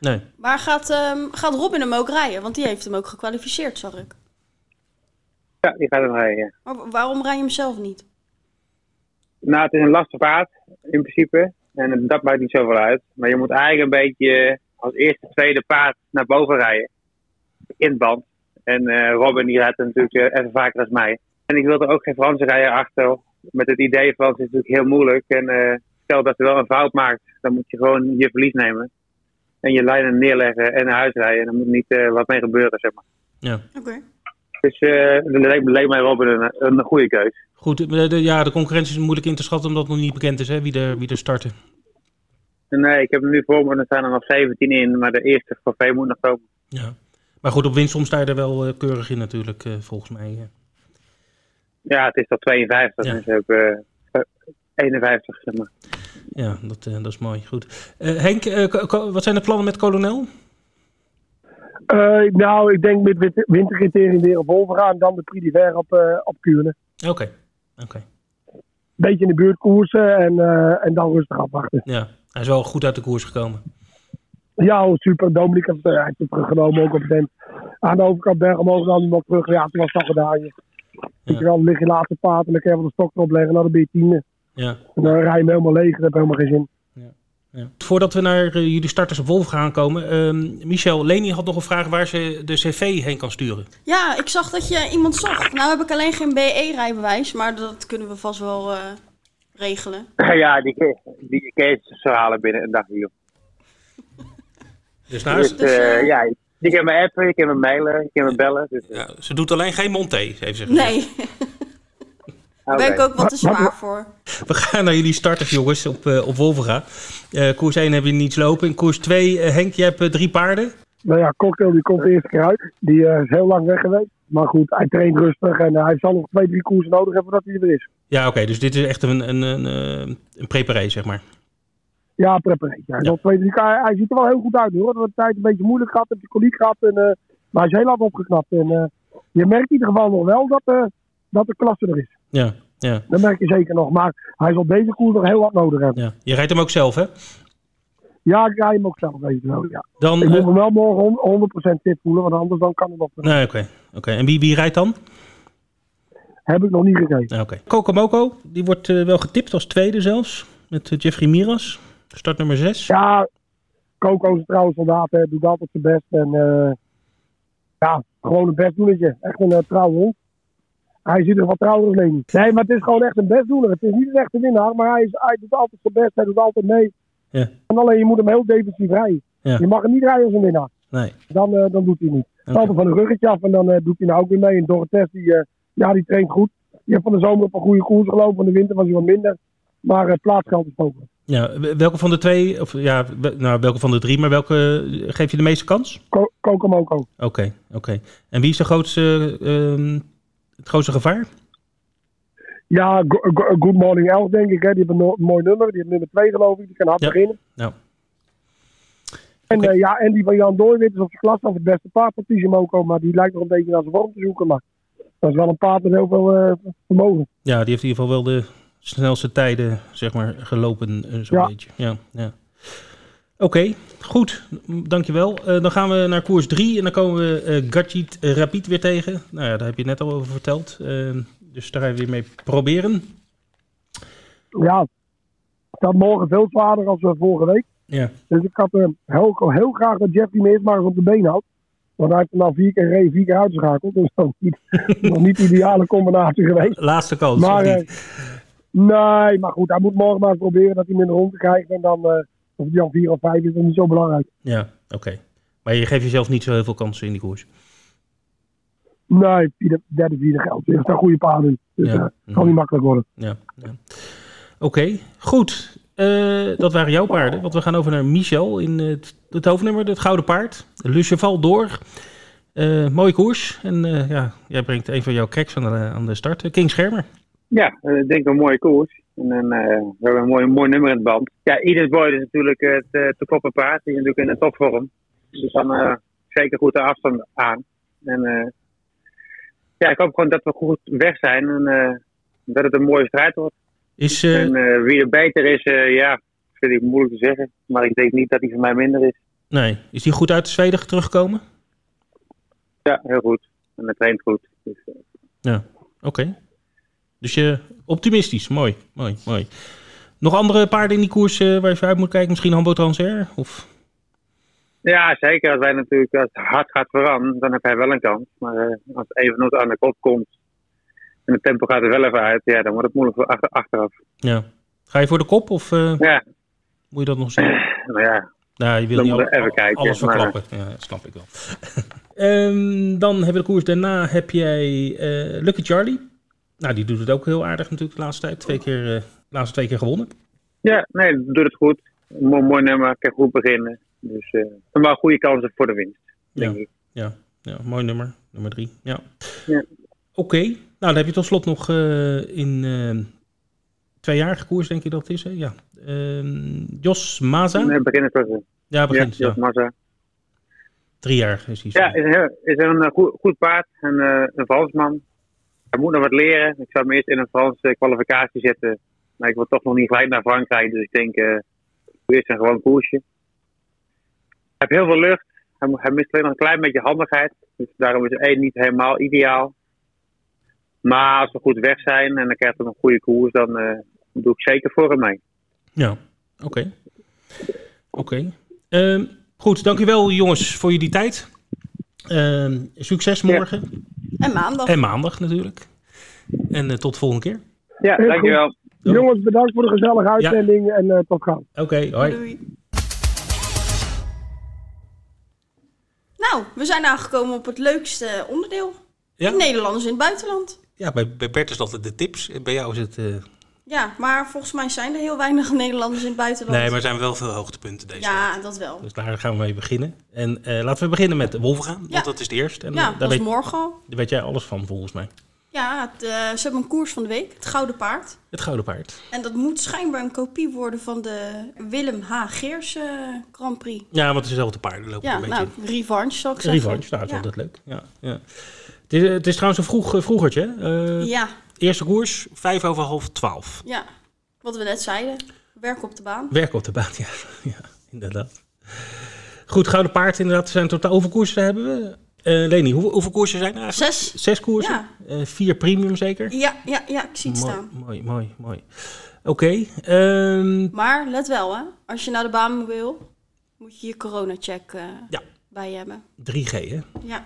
Speaker 1: Nee.
Speaker 2: Maar gaat, ehm, gaat Robin hem ook rijden? Want die heeft hem ook gekwalificeerd, zag ik.
Speaker 4: Ja, die gaat hem rijden. ja.
Speaker 2: Maar wa- waarom rij je hem zelf niet?
Speaker 4: Nou, het is een lastig paard in principe. En dat maakt niet zoveel uit. Maar je moet eigenlijk een beetje eh, als eerste, tweede paard naar boven rijden. In het band. En eh, Robin die rijdt er natuurlijk eh, even vaker als mij. En ik wil er ook geen Franse rijder achter. Met het idee van het is natuurlijk heel moeilijk. En eh, stel dat ze wel een fout maakt, dan moet je gewoon je verlies nemen. En je lijnen neerleggen en naar huis rijden. En er moet niet eh, wat mee gebeuren, zeg maar.
Speaker 1: Ja.
Speaker 2: Oké.
Speaker 4: Dus eh dat leek, leek mij Robin een, een goede keus.
Speaker 1: Goed, eh, de, ja, de concurrentie is moeilijk in te schatten omdat het nog niet bekend is hè, wie, er, wie er starten.
Speaker 4: Nee, ik heb hem nu voor me. Er staan er nog 17 in, maar de eerste trofee moet nog komen.
Speaker 1: Ja. Maar goed, op winstsom sta je er wel eh, keurig in natuurlijk, eh, volgens mij. eh.
Speaker 4: Ja, het is tot 52,
Speaker 1: Ja.
Speaker 4: dus we hebben eh, 51, zeg maar.
Speaker 1: Ja, dat, eh, dat is mooi. Goed. Eh, Henk, eh, ko- ko- wat zijn de plannen met kolonel?
Speaker 3: Eh, nou, ik denk met wit- wintercriterium weer op Wolvera en dan de Prix d'hiver op, eh op Kuurne.
Speaker 1: Oké. Oké.
Speaker 3: Beetje in de buurt koersen en, eh, en dan rustig afwachten.
Speaker 1: Ja, hij is wel goed uit de koers gekomen.
Speaker 3: Ja, hoor, super. Dominic heeft, eh, hij heeft het teruggenomen ook op het end. Aan de overkant berg omhoog dan iemand terug. Ja, toen was dat gedaan. Je. Weet je wel, dan lig je later paard en dan kan je wel de stok erop leggen. Nou, dan ben je tiende.
Speaker 1: Ja.
Speaker 3: En dan rij je hem helemaal leeg. Dat heb helemaal geen zin.
Speaker 1: Ja. Voordat we naar eh, jullie starters op Wolf gaan komen. ehm, Michel, Leni had nog een vraag waar ze de cv heen kan sturen.
Speaker 2: Ja, ik zag dat je iemand zocht. Nou heb ik alleen geen BE-rijbewijs, maar dat kunnen we vast wel eh, regelen.
Speaker 4: Ja, die, ke- die Kees zou halen binnen een dag hier.
Speaker 1: Dus
Speaker 4: Dus
Speaker 1: naast,
Speaker 2: Dus,
Speaker 4: eh,
Speaker 2: eh,
Speaker 4: ja, je kan me appen, je kan me mailen, je kan me bellen. Dus, eh,
Speaker 1: ja, ze doet alleen geen Monté, heeft ze gezegd.
Speaker 2: Nee, daar
Speaker 4: oké.
Speaker 2: ben ik ook wat te
Speaker 3: Wat-
Speaker 2: zwaar
Speaker 3: wat-
Speaker 2: voor.
Speaker 1: We gaan naar jullie starters, jongens, op, eh op Wolvega. Eh, koers 1 hebben jullie niets lopen. In koers 2, eh, Henk, je hebt eh, drie paarden.
Speaker 3: Nou ja, Cocktail die komt de eerste keer uit. Die eh, is heel lang weg geweest. Maar goed, hij traint rustig. En eh, hij zal nog twee, drie koersen nodig hebben voordat hij er weer is.
Speaker 1: Ja, oké, dus dit is echt een, een, een, eh, een preparé, zeg maar.
Speaker 3: Ja, prepareert. Ja. Dat weet ik. Hij, hij ziet er wel heel goed uit nu, hoor. Dat de tijd een beetje moeilijk gehad, heeft de koliek gehad. En, eh, maar hij is heel hard opgeknapt. En eh, je merkt in ieder geval nog wel dat, eh, dat de klasse er is.
Speaker 1: Ja, ja,
Speaker 3: Dat merk je zeker nog. Maar hij zal deze koers nog heel wat nodig hebben.
Speaker 1: ja. Je rijdt hem ook zelf, hè?
Speaker 3: Ja, ik rij hem ook zelf weet je wel. Ja.
Speaker 1: Dan,
Speaker 3: Ik
Speaker 1: eh,
Speaker 3: moet hem wel morgen hon- 100% fit voelen, want anders dan kan het nog.
Speaker 1: nee, oké. oké. En wie, wie rijdt dan?
Speaker 3: Heb ik nog niet gekeken.
Speaker 1: Nou, Oké. Coco Moco, die wordt eh, wel getipt als tweede zelfs. Met eh, Jeffrey Miras, start nummer 6.
Speaker 3: Ja, Coco is trouwens soldaat. Hè. Doet altijd zijn best. En eh, ja, gewoon een bestdoenertje. Echt een eh, trouw hond. Hij ziet er wat trouwer in. Nee, maar het is gewoon echt een bestdoener. Het is niet een echte winnaar, maar hij, is, hij doet altijd zijn best. Hij doet altijd mee.
Speaker 1: Ja.
Speaker 3: En alleen je moet hem heel defensief rijden.
Speaker 1: Ja.
Speaker 3: Je mag hem niet rijden als een winnaar.
Speaker 1: Nee.
Speaker 3: Dan, eh, dan doet hij niet.
Speaker 1: Oké.
Speaker 3: Altijd van een ruggetje af en dan eh, doet hij nou ook weer mee. En Dorotes, die, eh, ja, die traint goed. Die heeft van de zomer op een goede koers gelopen. Van de winter was hij wat minder. Maar eh, plaatsgeld is mogelijk.
Speaker 1: Ja, w- welke van de twee, of ja, w- nou, welke van de drie, maar welke eh, geef je de meeste kans?
Speaker 3: Ko- Kokomoko.
Speaker 1: Oké, oké. En wie is de grootste, ehm, het grootste gevaar?
Speaker 3: Ja, Go- Go- Good Morning Elf, denk ik. Hè. Die hebben een no- mooi nummer. Die hebben nummer 2, geloof ik. Die kan hard
Speaker 1: Ja.
Speaker 3: beginnen.
Speaker 1: Nou,
Speaker 3: En,
Speaker 1: Oké.
Speaker 3: eh, ja, en die van Jan Dooijwit is op zijn klas af het beste paard van Tijemoko. Maar die lijkt nog een beetje naar zijn vorm te zoeken. Maar dat is wel een paard met heel veel eh, vermogen.
Speaker 1: ja, die heeft in ieder geval wel de snelste tijden, zeg maar, gelopen, eh, zo'n
Speaker 3: Ja.
Speaker 1: beetje. Ja, ja. Oké, goed. M- Dankjewel. Eh, dan gaan we naar koers 3 en dan komen we eh Gatjit Rapid weer tegen. Nou ja, daar heb je net al over verteld. Eh, dus daar gaan we weer mee proberen.
Speaker 3: Ja, dat morgen veel zwaarder als eh, vorige week.
Speaker 1: Ja,
Speaker 3: Dus ik had eh, heel, heel graag dat Jeffrey me eerst maar eens op de been houdt. Want hij heeft hem al vier keer gereden, vier keer uitgeschakeld. Dus dat is niet, nog niet de ideale combinatie geweest.
Speaker 1: laatste kans.
Speaker 3: Maar,
Speaker 1: of
Speaker 3: eh,
Speaker 1: niet?
Speaker 3: nee, maar goed, hij moet morgen maar eens proberen dat hij minder rond krijgt. En dan, eh, of hij al vier of vijf is, dat is niet zo belangrijk.
Speaker 1: Ja, oké. Maar je geeft jezelf niet zo heel veel kansen in die koers.
Speaker 3: Nee, vierde, derde, vierde geldt. Er staan goede paarden in. Dus
Speaker 1: Ja.
Speaker 3: eh,
Speaker 1: Mhm.
Speaker 3: kan niet makkelijk worden.
Speaker 1: Ja, ja. Oké, goed. Eh, dat waren jouw paarden. Want we gaan over naar Michel in het, het hoofdnummer, het Gouden Paard. Le Cheval door. Eh, mooie koers. En eh, ja, jij brengt een van jouw cracks aan de, aan de start. Eh, King Schermer.
Speaker 4: Ja, eh, ik denk een mooie koers. En dan, eh, we hebben een mooi, mooi nummer in het band. Ja, Edith Boyd is natuurlijk het eh, te koppen paard. Die is natuurlijk in de topvorm. Dus die kan eh, zeker goed de afstand aan. En eh, ja, ik hoop gewoon dat we goed weg zijn. En eh, dat het een mooie strijd wordt.
Speaker 1: Is, eh,
Speaker 4: En eh, wie er beter is, eh, ja, vind ik moeilijk te zeggen. Maar ik denk niet dat hij voor mij minder is.
Speaker 1: nee, is die goed uit Zweden teruggekomen?
Speaker 4: Ja, heel goed. En hij traint goed. Dus, eh,
Speaker 1: Ja, oké. Dus je optimistisch. Mooi, mooi, mooi. Nog andere paarden in die koers eh, waar je voor uit moet kijken? Misschien Hambo Transair? Of...
Speaker 4: Ja, zeker. Als wij natuurlijk als het hard gaat veranderen, dan heb hij wel een kans. Maar eh, als een van ons aan de kop komt en het tempo gaat er wel even uit, ja, dan wordt het moeilijk voor achter, achteraf.
Speaker 1: Ja. Ga je voor de kop of eh,
Speaker 4: Ja,
Speaker 1: moet je dat nog zien?
Speaker 4: nou ja,
Speaker 1: Nou, je wil
Speaker 4: Dan
Speaker 1: niet
Speaker 4: moeten we
Speaker 1: al-
Speaker 4: even kijken,
Speaker 1: alles
Speaker 4: maar-
Speaker 1: verklappen. Ja, dat snap ik wel. Ehm, dan hebben we de koers. Daarna heb jij eh, Lucky Charlie. Nou, die doet het ook heel aardig natuurlijk de laatste tijd. Twee keer, eh, de laatste twee keer gewonnen.
Speaker 4: ja nee, doet het goed. Een mooi, mooi nummer, kan goed beginnen. Dus eh en wel goede kansen voor de winst,
Speaker 1: Ja,
Speaker 4: denk ik.
Speaker 1: ja, ja, mooi nummer. Nummer drie. Ja.
Speaker 4: Ja.
Speaker 1: Oké. Nou, dan heb je tot slot nog eh, in eh tweejarige koers, denk ik dat het is. Hè? Ja. Ehm, Jos Maza.
Speaker 4: Nee, beginnen tot de
Speaker 1: ja,
Speaker 4: ja,
Speaker 1: begint. Ja,
Speaker 4: ja. massa.
Speaker 1: Driejarig is hij.
Speaker 4: Ja, is een, heel- is een eh, goed, goed paard, een, eh, een Fransman. Hij moet nog wat leren. Ik zou hem eerst in een Franse eh, kwalificatie zetten. Maar ik wil toch nog niet gelijk naar Frankrijk. Dus ik denk, eh eerst een gewoon koersje. Hij heeft heel veel lucht. Hij, mo- hij mist alleen nog een klein beetje handigheid. Dus daarom is één niet helemaal ideaal. Maar als we goed weg zijn en dan krijgt hij een goede koers, dan eh, doe ik zeker voor hem mee.
Speaker 1: Ja, oké. Oké. Ehm, goed, dankjewel jongens voor jullie tijd. Ehm, succes morgen
Speaker 2: En maandag.
Speaker 1: en maandag natuurlijk. En eh, tot de volgende keer.
Speaker 4: Ja,
Speaker 3: Heel
Speaker 4: dankjewel.
Speaker 1: Ja.
Speaker 3: Jongens, bedankt voor de gezellige uitzending en eh, tot gauw.
Speaker 1: Oké, hoi.
Speaker 2: Doei. Nou, we zijn aangekomen op het leukste onderdeel.
Speaker 1: Ja?
Speaker 2: Nederlanders in het buitenland.
Speaker 1: Ja, bij, bij Bert is dat de tips. En Bij jou is het... eh,
Speaker 2: Ja, maar volgens mij zijn er heel weinig Nederlanders in het buitenland.
Speaker 5: Nee, maar er zijn wel veel hoogtepunten deze week.
Speaker 2: Ja, dat wel.
Speaker 1: Dus daar gaan we mee beginnen. En eh, laten we beginnen met Wolvenga, want
Speaker 2: Ja.
Speaker 1: dat is de eerste. En eh,
Speaker 2: Ja,
Speaker 1: daar
Speaker 2: dat is
Speaker 1: weet,
Speaker 2: morgen al.
Speaker 1: daar weet jij alles van volgens mij.
Speaker 2: Ja, het, eh, ze hebben een koers van de week, het Gouden Paard.
Speaker 1: Het Gouden Paard.
Speaker 2: En dat moet schijnbaar een kopie worden van de Willem H. Geers eh, Grand Prix.
Speaker 1: Ja, want het is dezelfde paarden lopen
Speaker 2: Ja,
Speaker 1: een beetje
Speaker 2: nou, revanche zal ik
Speaker 1: in.
Speaker 2: zeggen.
Speaker 1: Revanche, nou, dat is
Speaker 2: ja.
Speaker 1: altijd leuk. Ja, ja. Het, is, het is trouwens een vroeg, vroegertje. hè? Eh,
Speaker 2: ja,
Speaker 1: Eerste koers, vijf over half twaalf.
Speaker 2: ja. Wat we net zeiden. Werk op de baan.
Speaker 1: Werk op de baan, ja. ja inderdaad. Goed, Gouden Paard inderdaad. Er zijn totaal hoeveel koersen hebben we? Eh Leni, hoe- hoeveel koersen zijn er eigenlijk?
Speaker 2: Zes.
Speaker 1: Zes koersen? Eh, vier premium zeker?
Speaker 2: Ja, ja, ja, ik zie het
Speaker 1: mooi,
Speaker 2: staan.
Speaker 1: mooi, mooi, mooi. Oké, ehm,
Speaker 2: Maar let wel, hè. Als je naar de baan wil, moet je je corona-check eh,
Speaker 1: Ja.
Speaker 2: bij hebben.
Speaker 1: 3G hè?
Speaker 2: Ja.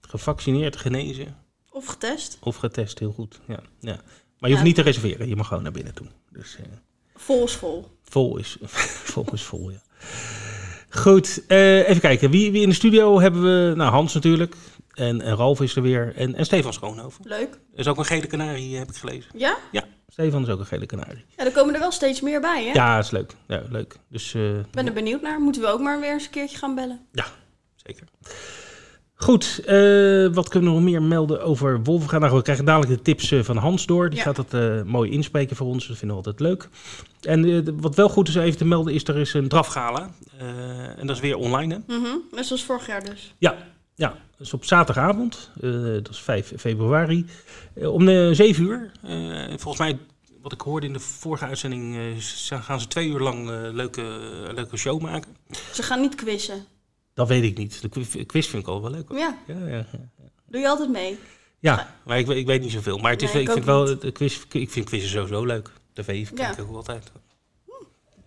Speaker 1: Gevaccineerd, genezen
Speaker 2: Of getest.
Speaker 1: of getest, heel goed. Ja, ja. Maar je hoeft
Speaker 2: Ja.
Speaker 1: niet te reserveren, je mag gewoon naar binnen toe. Dus, eh,
Speaker 2: Vol is vol.
Speaker 1: Vol is, vol is vol, ja. Goed, eh, even kijken. Wie, wie in de studio hebben we? Nou, Hans natuurlijk. En, en Ralf is er weer. En, en Stefan Schoonhoven.
Speaker 2: Leuk.
Speaker 5: Er is ook een gele kanarie, eh, heb ik gelezen.
Speaker 2: Ja?
Speaker 1: Stefan is ook een gele kanarie.
Speaker 2: Ja, er komen er wel steeds meer bij, hè?
Speaker 1: Ja, is leuk. Ja, leuk. Dus eh,
Speaker 2: Ik ben er benieuwd naar. Moeten we ook maar weer eens een keertje gaan bellen.
Speaker 1: ja, zeker. Goed, eh, wat kunnen we nog meer melden over Wolfgang? Nou, we krijgen dadelijk de tips eh, van Hans door. Die
Speaker 2: Ja.
Speaker 1: gaat dat eh, mooi inspreken voor ons. Dat vinden we altijd leuk. En eh, de- wat wel goed is even te melden is, er is een drafgala. Eh, en dat is weer online, hè?
Speaker 2: Mhm. Net zoals vorig jaar dus.
Speaker 1: Ja, ja. Dat is op zaterdagavond, eh, dat is 5 februari, eh, om eh 7 uur.
Speaker 5: Eh, volgens mij, wat ik hoorde in de vorige uitzending, eh, z- gaan ze twee uur lang eh, leuke, leuke show maken.
Speaker 2: Ze gaan niet quizzen.
Speaker 1: Dat weet ik niet. De qu- quiz vind ik al wel leuk. hoor.
Speaker 2: Ja,
Speaker 1: Ja, ja, ja.
Speaker 2: doe je altijd mee.
Speaker 1: ja maar ik, weet- ik weet niet zoveel. Maar het is,
Speaker 2: Nee,
Speaker 1: ik,
Speaker 2: ik
Speaker 1: vind
Speaker 2: ook
Speaker 1: wel, de quiz, ik vind quizzen sowieso leuk. TV kijk
Speaker 2: Ja. Hm.
Speaker 1: ik ook altijd.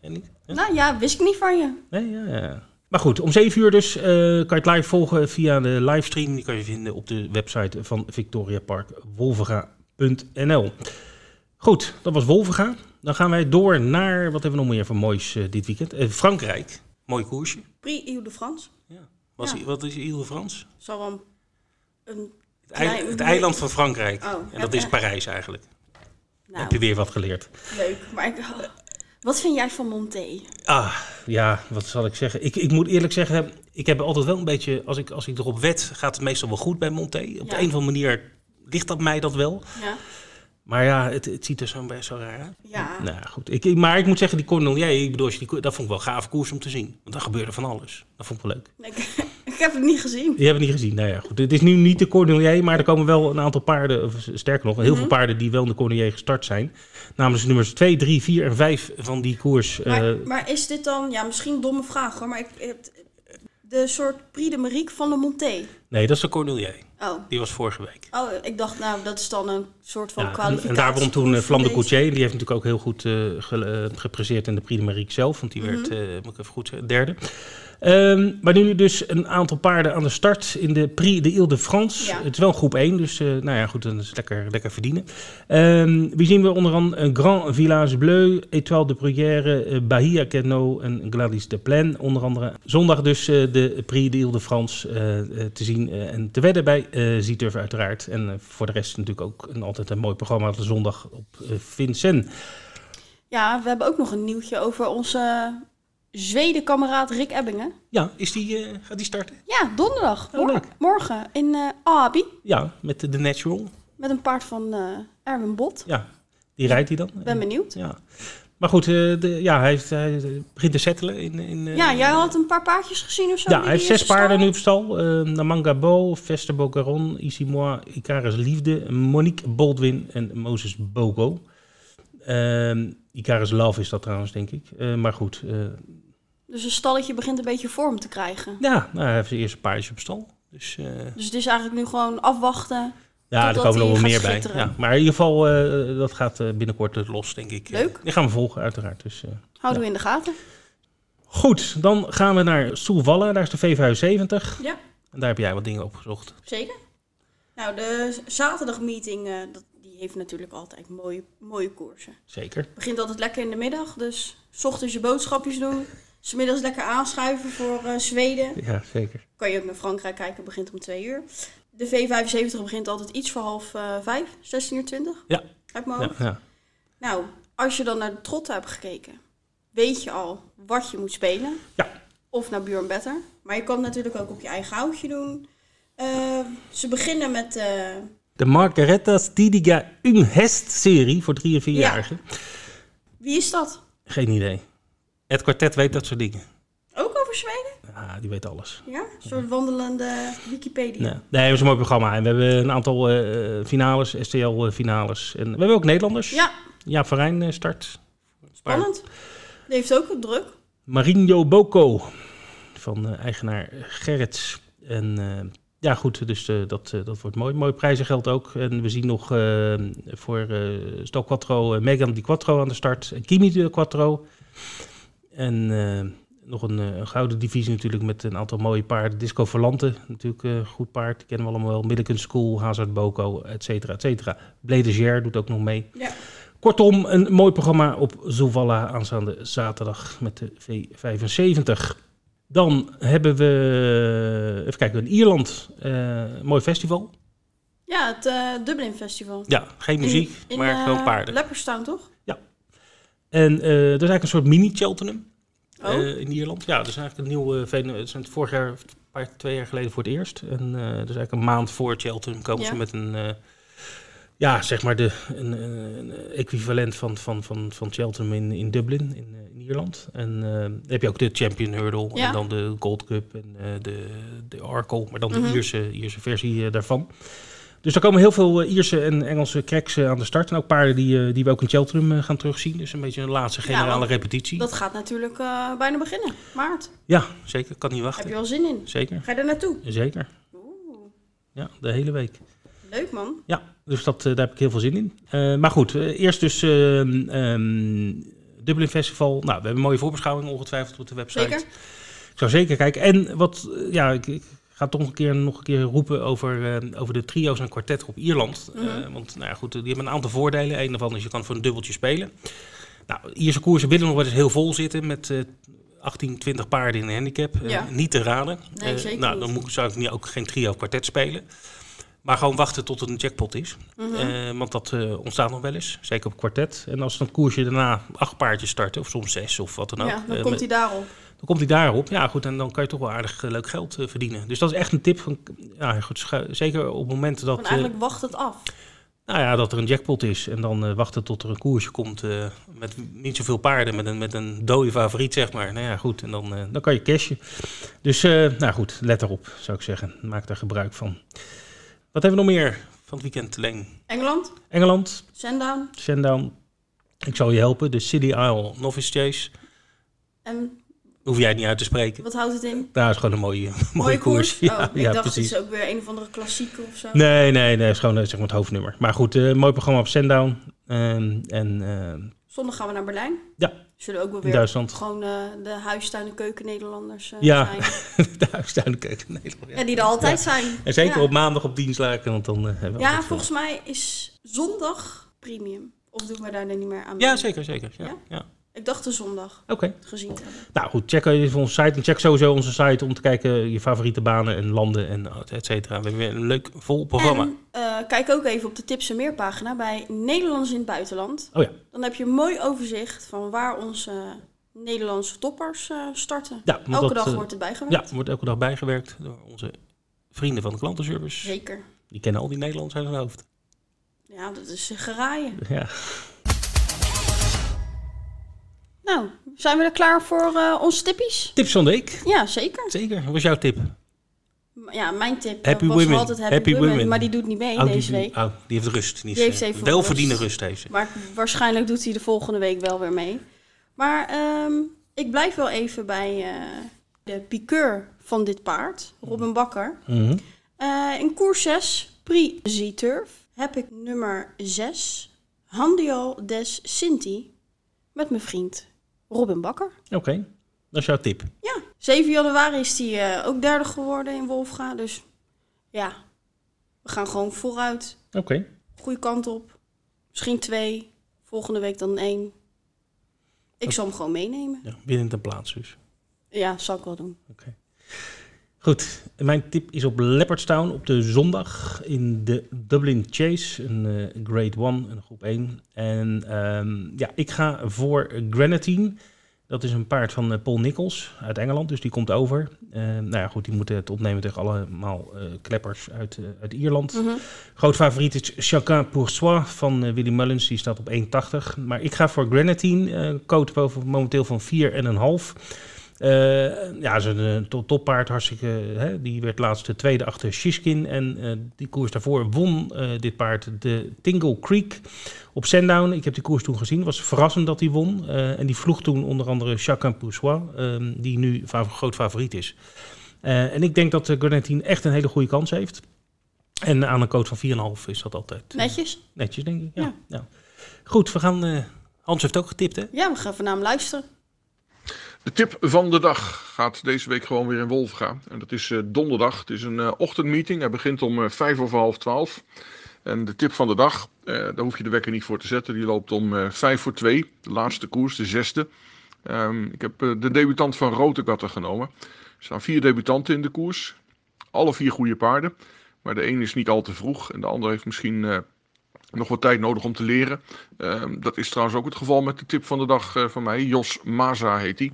Speaker 1: En niet? Ja?
Speaker 2: Nou ja, wist ik niet van je.
Speaker 1: Nee, ja, ja. Maar goed, om 7 uur dus eh, kan je het live volgen via de livestream. Die kan je vinden op de website van Victoria Park wolvega.nl. Goed, dat was Wolvega. Dan gaan wij door naar, wat hebben we nog meer voor moois eh, dit weekend? Eh, Frankrijk.
Speaker 5: Mooi koersje.
Speaker 2: Prix Ile de France.
Speaker 5: Was,
Speaker 2: Ja.
Speaker 5: Wat is Ile Frans?
Speaker 2: Zal wel een, een
Speaker 5: Ik
Speaker 1: ei-
Speaker 2: Nee,
Speaker 1: het
Speaker 2: nee.
Speaker 1: eiland van Frankrijk.
Speaker 2: Oh,
Speaker 1: en dat
Speaker 2: ja.
Speaker 1: is Parijs eigenlijk.
Speaker 2: Nou,
Speaker 1: Heb je weer wat geleerd?
Speaker 2: leuk. Maar ik, oh. wat vind jij van Monté?
Speaker 1: Ah, ja, wat zal ik zeggen? Ik, ik moet eerlijk zeggen, ik heb altijd wel een beetje... Als ik, als ik erop wet, gaat het meestal wel goed bij Monté. Op de
Speaker 2: Ja.
Speaker 1: een of andere manier ligt dat mij dat wel.
Speaker 2: Ja.
Speaker 1: Maar ja, het, het ziet er zo best wel raar uit.
Speaker 2: Ja.
Speaker 1: Nou ja, goed. Ik, ik- maar ik moet zeggen, die Cornelier, ik bedoel, als je die, ko- dat vond ik wel een gave koers om te zien. Want daar gebeurde van alles. Dat vond ik wel leuk.
Speaker 2: Ik, ik heb het niet gezien.
Speaker 1: Die hebben we niet gezien. Nou ja, goed. Het is nu niet de Cornelier, maar er komen wel een aantal paarden, of sterker nog, heel veel
Speaker 2: Mhm.
Speaker 1: paarden die wel in de Cornelier gestart zijn. Namelijk de nummers 2, 3, 4 en 5 van die koers.
Speaker 2: Maar,
Speaker 1: eh,
Speaker 2: maar is dit dan, ja, misschien een domme vraag hoor, maar ik, ik- de soort Prix de Mariek van de Monté.
Speaker 1: nee, dat is de Cornelier.
Speaker 2: Oh.
Speaker 1: Die was vorige week.
Speaker 2: oh, ik dacht nou, dat is dan een soort van
Speaker 1: Ja, en,
Speaker 2: kwalificatie.
Speaker 1: en daar won toen eh, Vlam de
Speaker 2: Deze-
Speaker 1: Coutier. Die heeft natuurlijk ook heel goed eh ge- eh, gepresteerd in de Prix de Mariek zelf. Want
Speaker 2: Mhm.
Speaker 1: die werd, eh, moet ik even goed zeggen, derde. Ehm, maar nu dus een aantal paarden aan de start in de Prix de Ile-de-France.
Speaker 2: Ja.
Speaker 1: Het is wel groep 1, dus eh, nou ja, goed, dat is lekker, lekker verdienen. Ehm, wie zien we onderaan? Een Grand Village Bleu, Étoile de Bruyère, eh, Bahia Queno en Gladys de Plaine onder andere. Zondag dus eh, de Prix de Ile-de-France eh, eh, te zien eh, en te wedden bij eh Zieturf uiteraard. En eh, voor de rest natuurlijk ook een, altijd een mooi programma op de zondag op eh Vincent.
Speaker 2: Ja, we hebben ook nog een nieuwtje over onze Zweden-kameraad Rick Ebbingen.
Speaker 1: Ja, is die, eh, gaat die starten?
Speaker 2: Ja, donderdag. mor-
Speaker 1: Oh, leuk.
Speaker 2: morgen in eh Abi.
Speaker 1: Ja, met de, de Natural.
Speaker 2: Met een paard van eh Erwin Bot.
Speaker 1: Ja, die rijdt hij dan.
Speaker 2: Ben benieuwd.
Speaker 1: Ja. Maar goed, eh, de, ja, hij, heeft, hij eh, begint te settelen. In, in, eh,
Speaker 2: Ja, jij had een paar paardjes gezien of zo?
Speaker 1: ja,
Speaker 2: die
Speaker 1: hij heeft
Speaker 2: die
Speaker 1: zes
Speaker 2: staan?
Speaker 1: paarden nu op stal. Eh Namangabo, Vester Bocaron, Isimoi, Icaris Liefde, Monique Baldwin en Moses Bogo. Ehm Icaris Love is dat trouwens, denk ik. Eh, maar goed, eh,
Speaker 2: Dus een stalletje begint een beetje vorm te krijgen.
Speaker 1: ja, nou, hij heeft zijn eerste paardjes op stal. Dus eh,
Speaker 2: Dus het is eigenlijk nu gewoon afwachten.
Speaker 1: ja,
Speaker 2: Totdat
Speaker 1: er komen
Speaker 2: hij
Speaker 1: nog wel meer
Speaker 2: gaat
Speaker 1: bij.
Speaker 2: schitteren.
Speaker 1: Ja, maar in ieder geval, eh, dat gaat eh, binnenkort eh, los, denk ik.
Speaker 2: Leuk.
Speaker 1: Die gaan we volgen, uiteraard. Dus, eh,
Speaker 2: Houden we in de gaten.
Speaker 1: Goed, dan gaan we naar Soelvallen. Daar is de VVH 70.
Speaker 2: Ja,
Speaker 1: En daar heb jij wat dingen opgezocht.
Speaker 2: zeker. Nou, de zaterdagmeeting, eh, dat- die heeft natuurlijk altijd mooie, mooie koersen.
Speaker 1: Zeker.
Speaker 2: begint altijd lekker in de middag. Dus 's ochtends je boodschapjes doen. 's middags lekker aanschuiven voor eh, Zweden.
Speaker 1: Ja, zeker.
Speaker 2: Kan je ook naar Frankrijk kijken, begint om twee uur. De V75 begint altijd iets voor half eh, vijf, 16 uur 20.
Speaker 1: Ja.
Speaker 2: Uit mijn
Speaker 1: Ja,
Speaker 2: hoofd.
Speaker 1: ja.
Speaker 2: Nou, als je dan naar de trotten hebt gekeken, weet je al wat je moet spelen.
Speaker 1: Ja.
Speaker 2: Of naar Björn Better. Maar je kan het natuurlijk ook op je eigen houtje doen. Eh, ze beginnen met eh,
Speaker 1: De Margareta Stidiga Unghest-serie voor 3- en 4-jarigen.
Speaker 2: wie is dat?
Speaker 1: Geen idee. Het kwartet weet dat soort dingen.
Speaker 2: Ook over Zweden?
Speaker 1: Ah, die weet alles.
Speaker 2: Ja, een soort wandelende Wikipedia.
Speaker 1: Nee, nee het is een mooi programma. En we hebben een aantal eh, finales, STL-finales. eh, En we hebben ook Nederlanders.
Speaker 2: Ja,
Speaker 1: Jaap van Rijn eh, start.
Speaker 2: Spannend. Die heeft ook het druk.
Speaker 1: Marinho Boko van eh, eigenaar Gerrits. En eh, ja, goed, dus eh, dat, eh, dat wordt mooi. Mooi prijzengeld ook. En we zien nog eh, voor eh Stal Quattro eh, Megan Di Quattro aan de start. En Kimi de Quattro. En eh, nog een, eh, een gouden divisie natuurlijk met een aantal mooie paarden. Disco Verlante, natuurlijk eh, goed paard. Die kennen we allemaal wel. Middelkund School, Hazard Boko, et cetera, et cetera. Bledeger doet ook nog mee.
Speaker 2: Ja.
Speaker 1: Kortom, een mooi programma op Zovalla aanstaande zaterdag met de V75. Dan hebben we, even kijken, in Ierland, eh, mooi festival.
Speaker 2: Ja, het eh, Dublin Festival.
Speaker 1: Ja, geen muziek,
Speaker 2: In- in,
Speaker 1: maar
Speaker 2: eh,
Speaker 1: gewoon paarden.
Speaker 2: Leopardstown, toch?
Speaker 1: En eh, dat is eigenlijk een soort mini-Cheltenham
Speaker 2: Oh.
Speaker 1: eh, in Ierland. Ja, dat is eigenlijk een nieuw eh, fenomeen. Het zijn het vorig jaar, of een paar, twee jaar geleden voor het eerst. En eh dat is eigenlijk een maand voor Cheltenham komen
Speaker 2: Ja.
Speaker 1: ze met een... eh, ja, zeg maar de, een, eh, een- een equivalent van, van, van, van Cheltenham in, in Dublin, in, eh, in Ierland. En eh, dan heb je ook de Champion Hurdle
Speaker 2: Ja.
Speaker 1: en dan de Gold Cup en eh, de, de Arkle, maar dan de
Speaker 2: Mhm.
Speaker 1: Ierse, Ierse versie eh, daarvan. Dus er komen heel veel eh, Ierse en Engelse cracks eh, aan de start. En ook paarden die, eh, die we ook in Cheltenham eh, gaan terugzien. Dus een beetje een laatste
Speaker 2: Ja,
Speaker 1: generale
Speaker 2: want
Speaker 1: repetitie.
Speaker 2: Nou, Dat gaat natuurlijk eh, bijna beginnen. Maart.
Speaker 1: Ja, zeker. Kan niet
Speaker 2: Heb
Speaker 1: wachten.
Speaker 2: je al zin in?
Speaker 1: Zeker.
Speaker 2: Ga je er naartoe?
Speaker 1: Zeker.
Speaker 2: Oeh,
Speaker 1: Ja, de hele week.
Speaker 2: leuk man.
Speaker 1: Ja, dus dat, eh, daar heb ik heel veel zin in. Eh, maar goed, eh, eerst dus ehm, ehm, Dublin Festival. Nou, we hebben een mooie voorbeschouwing ongetwijfeld op de website.
Speaker 2: Zeker.
Speaker 1: Ik zou zeker kijken. En wat, eh, ja, ik, ik ga toch een keer, nog een keer roepen over, eh, over de trio's en kwartetgroep Ierland. Eh,
Speaker 2: Mhm.
Speaker 1: want nou ja, goed, die hebben een aantal voordelen. Een daarvan is je kan voor een dubbeltje spelen. Nou, Ierse koersen willen nog wel eens heel vol zitten met eh, 18, 20 paarden in een handicap. Eh,
Speaker 2: Ja.
Speaker 1: niet te raden.
Speaker 2: Nee,
Speaker 1: Eh,
Speaker 2: zeker
Speaker 1: nou,
Speaker 2: niet.
Speaker 1: dan moet, zou ik niet, ook geen trio of kwartet spelen. Maar gewoon wachten tot het een jackpot is.
Speaker 2: Mhm.
Speaker 1: Eh, want dat eh, ontstaat nog wel eens, zeker op kwartet. En als dan een koersje daarna acht paardjes starten, of soms zes of wat dan ook.
Speaker 2: ja, dan
Speaker 1: eh,
Speaker 2: komt hij daarop.
Speaker 1: dan komt hij daarop. Ja, goed, en dan kan je toch wel aardig eh, leuk geld eh, verdienen. Dus dat is echt een tip. Van, ja, goed, schu- zeker op momenten dat,
Speaker 2: Want
Speaker 1: eh,
Speaker 2: eigenlijk wacht het af.
Speaker 1: nou ja, dat er een jackpot is. En dan eh, wachten tot er een koersje komt eh, met niet zoveel paarden. Met een, met een dode favoriet, zeg maar. Nou ja, goed, en dan, eh, dan kan je cashen. Dus, eh, nou goed, let erop, zou ik zeggen. Maak daar gebruik van. Wat hebben we nog meer van het weekend, Leen?
Speaker 2: Engeland,
Speaker 1: Engeland,
Speaker 2: Sandown
Speaker 1: Sandown. Ik zal je helpen. De City Isle Novice Chase.
Speaker 2: en
Speaker 1: Hoef jij het niet uit te spreken.
Speaker 2: wat houdt het in?
Speaker 1: Daar is gewoon een mooie, mooie, koers.
Speaker 2: Oh, ik dacht, het is ook weer een of andere klassieke of zo.
Speaker 1: Nee, nee, nee. Het is gewoon eh, zeg maar, het hoofdnummer. Maar goed, eh, mooi programma op Sandown. Ehm, en ehm,
Speaker 2: Zondag gaan we naar Berlijn.
Speaker 1: Ja.
Speaker 2: Zullen ook wel
Speaker 1: in
Speaker 2: weer
Speaker 1: Duitsland.
Speaker 2: gewoon eh, de huistuin- en keuken-Nederlanders eh,
Speaker 1: Ja.
Speaker 2: zijn.
Speaker 1: de huistuinkeuken. Nee, toch, ja.
Speaker 2: Ja, die er altijd zijn.
Speaker 1: En zeker
Speaker 2: ja.
Speaker 1: op maandag op dienstlaken. Want dan eh, hebben we
Speaker 2: Ja,
Speaker 1: altijd veel.
Speaker 2: volgens mij is zondag premium. Of doen we daar dan niet meer aan?
Speaker 1: eh, Ja, zeker, zeker. Ja,
Speaker 2: Ja?
Speaker 1: ja?
Speaker 2: Ik dacht de zondag
Speaker 1: Oké.
Speaker 2: gezien te hebben.
Speaker 1: Nou goed, check even onze site. En check sowieso onze site om te kijken je favoriete banen en landen en oh, et cetera. We hebben weer een leuk vol programma.
Speaker 2: En eh, kijk ook even op de Tips en Meer pagina bij Nederlanders in het buitenland.
Speaker 1: Oh ja.
Speaker 2: Dan heb je een mooi overzicht van waar onze Nederlandse toppers eh, starten.
Speaker 1: ja want
Speaker 2: Elke
Speaker 1: dat,
Speaker 2: dag
Speaker 1: eh,
Speaker 2: wordt het bijgewerkt.
Speaker 1: Ja, wordt elke dag bijgewerkt door onze vrienden van de klantenservice.
Speaker 2: Zeker.
Speaker 1: Die kennen al die Nederlanders uit hun hoofd.
Speaker 2: Ja, dat is eh, geraaien.
Speaker 1: Ja.
Speaker 2: Nou, zijn we er klaar voor eh, onze tippies?
Speaker 1: Tips van de week.
Speaker 2: Ja, zeker.
Speaker 1: Zeker. Wat was jouw tip?
Speaker 2: M- Ja, mijn tip eh,
Speaker 1: Happy
Speaker 2: was
Speaker 1: women.
Speaker 2: altijd Happy,
Speaker 1: Happy
Speaker 2: women,
Speaker 1: women.
Speaker 2: maar die doet niet mee
Speaker 1: Oh, die-
Speaker 2: deze week.
Speaker 1: oh, die heeft rust. Die,
Speaker 2: Die
Speaker 1: is,
Speaker 2: heeft
Speaker 1: eh,
Speaker 2: even
Speaker 1: welverdiende
Speaker 2: rust.
Speaker 1: rust. heeft ze.
Speaker 2: Maar waarschijnlijk doet hij de volgende week wel weer mee. Maar ehm, ik blijf wel even bij eh, de piqueur van dit paard, Robin Bakker.
Speaker 1: Mhm.
Speaker 2: Eh, in koers 6, Prix Z-Turf, heb ik nummer 6, Handial des Sinti, met mijn vriend Robin Bakker.
Speaker 1: Oké, dat is jouw tip.
Speaker 2: Ja, 7 januari is hij eh, ook derde geworden in Wolfga. Dus ja, we gaan gewoon vooruit.
Speaker 1: Oké.
Speaker 2: Goede kant op. Misschien twee. Volgende week dan één. Ik zal hem gewoon meenemen.
Speaker 1: Ja, winnend een plaats dus.
Speaker 2: Ja, zal ik wel doen.
Speaker 1: Goed, en mijn tip is op Leopardstown op de zondag in de Dublin Chase, een eh, grade 1, een groep 1. En ehm, ja, ik ga voor Grenadine. Dat is een paard van eh, Paul Nichols uit Engeland, dus die komt over. Eh, nou ja, goed, die moet het opnemen tegen allemaal eh, kleppers uit, eh, uit Ierland. Groot favoriet is Chacun pour soi van eh, Willy Mullins. Die staat op 1,80. Maar ik ga voor Grenadine. eh code boven momenteel van 4,5. Eh ja, ze is een eh, to- toppaard, hartstikke. Hè, die werd laatst de tweede achter Shishkin. En eh, die koers daarvoor won eh, dit paard de Tingle Creek op Sandown. Ik heb die koers toen gezien. Het was verrassend dat hij won. Eh, en die vloeg toen onder andere Chacun Poussois, ehm, die nu fa- groot favoriet is. Eh, en ik denk dat uh, echt een hele goede kans heeft. En aan een code van 4,5 is dat altijd eh,
Speaker 2: Netjes?
Speaker 1: netjes, denk ik. Ja.
Speaker 2: Ja.
Speaker 1: ja. Goed, we gaan. eh, Hans heeft ook getipt, hè?
Speaker 2: Ja, we gaan van hem luisteren.
Speaker 6: De tip van de dag gaat deze week gewoon weer in Wolfga. En dat is eh, donderdag. Het is een eh, ochtendmeeting. Hij begint om eh, vijf over half twaalf. En de tip van de dag, eh, daar hoef je de wekker niet voor te zetten. Die loopt om eh, vijf voor twee. De laatste koers, de zesde. Ehm, ik heb eh, de debutant van Rotegatter genomen. Er staan vier debutanten in de koers. Alle vier goede paarden. Maar de een is niet al te vroeg. En de ander heeft misschien eh, nog wat tijd nodig om te leren. Ehm, dat is trouwens ook het geval met de tip van de dag eh, van mij. Jos Maza heet hij.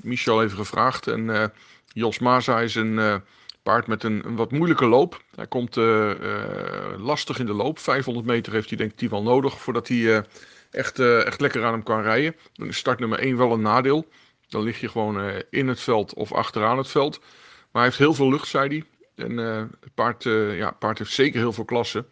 Speaker 6: Michel even gevraagd. En eh, Jos Maza is een eh, paard met een, een wat moeilijke loop. Hij komt eh, eh, lastig in de loop. 500 meter heeft hij denk ik die wel nodig voordat hij eh, echt, eh, echt lekker aan hem kan rijden. Dan is start nummer 1 wel een nadeel. Dan lig je gewoon eh, in het veld of achteraan het veld. Maar hij heeft heel veel lucht, zei hij. En eh, het paard, eh, ja, het paard heeft zeker heel veel klassen.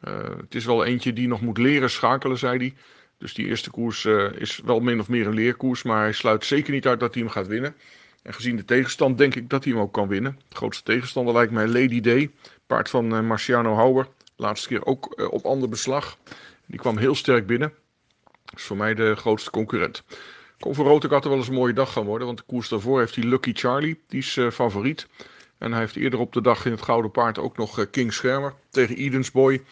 Speaker 6: Eh, het is wel eentje die nog moet leren schakelen, zei hij. Dus die eerste koers eh, is wel min of meer een leerkoers, maar hij sluit zeker niet uit dat hij hem gaat winnen. En gezien de tegenstand denk ik dat hij hem ook kan winnen. De grootste tegenstander lijkt mij Lady Day, paard van eh, Marciano Houwer. Laatste keer ook eh, op ander beslag. Die kwam heel sterk binnen. is voor mij de grootste concurrent. Kon voor Rotekatten wel eens een mooie dag gaan worden, want de koers daarvoor heeft hij Lucky Charlie. Die is eh, favoriet. En hij heeft eerder op de dag in het Gouden Paard ook nog eh, King Schermer tegen Edens Boy.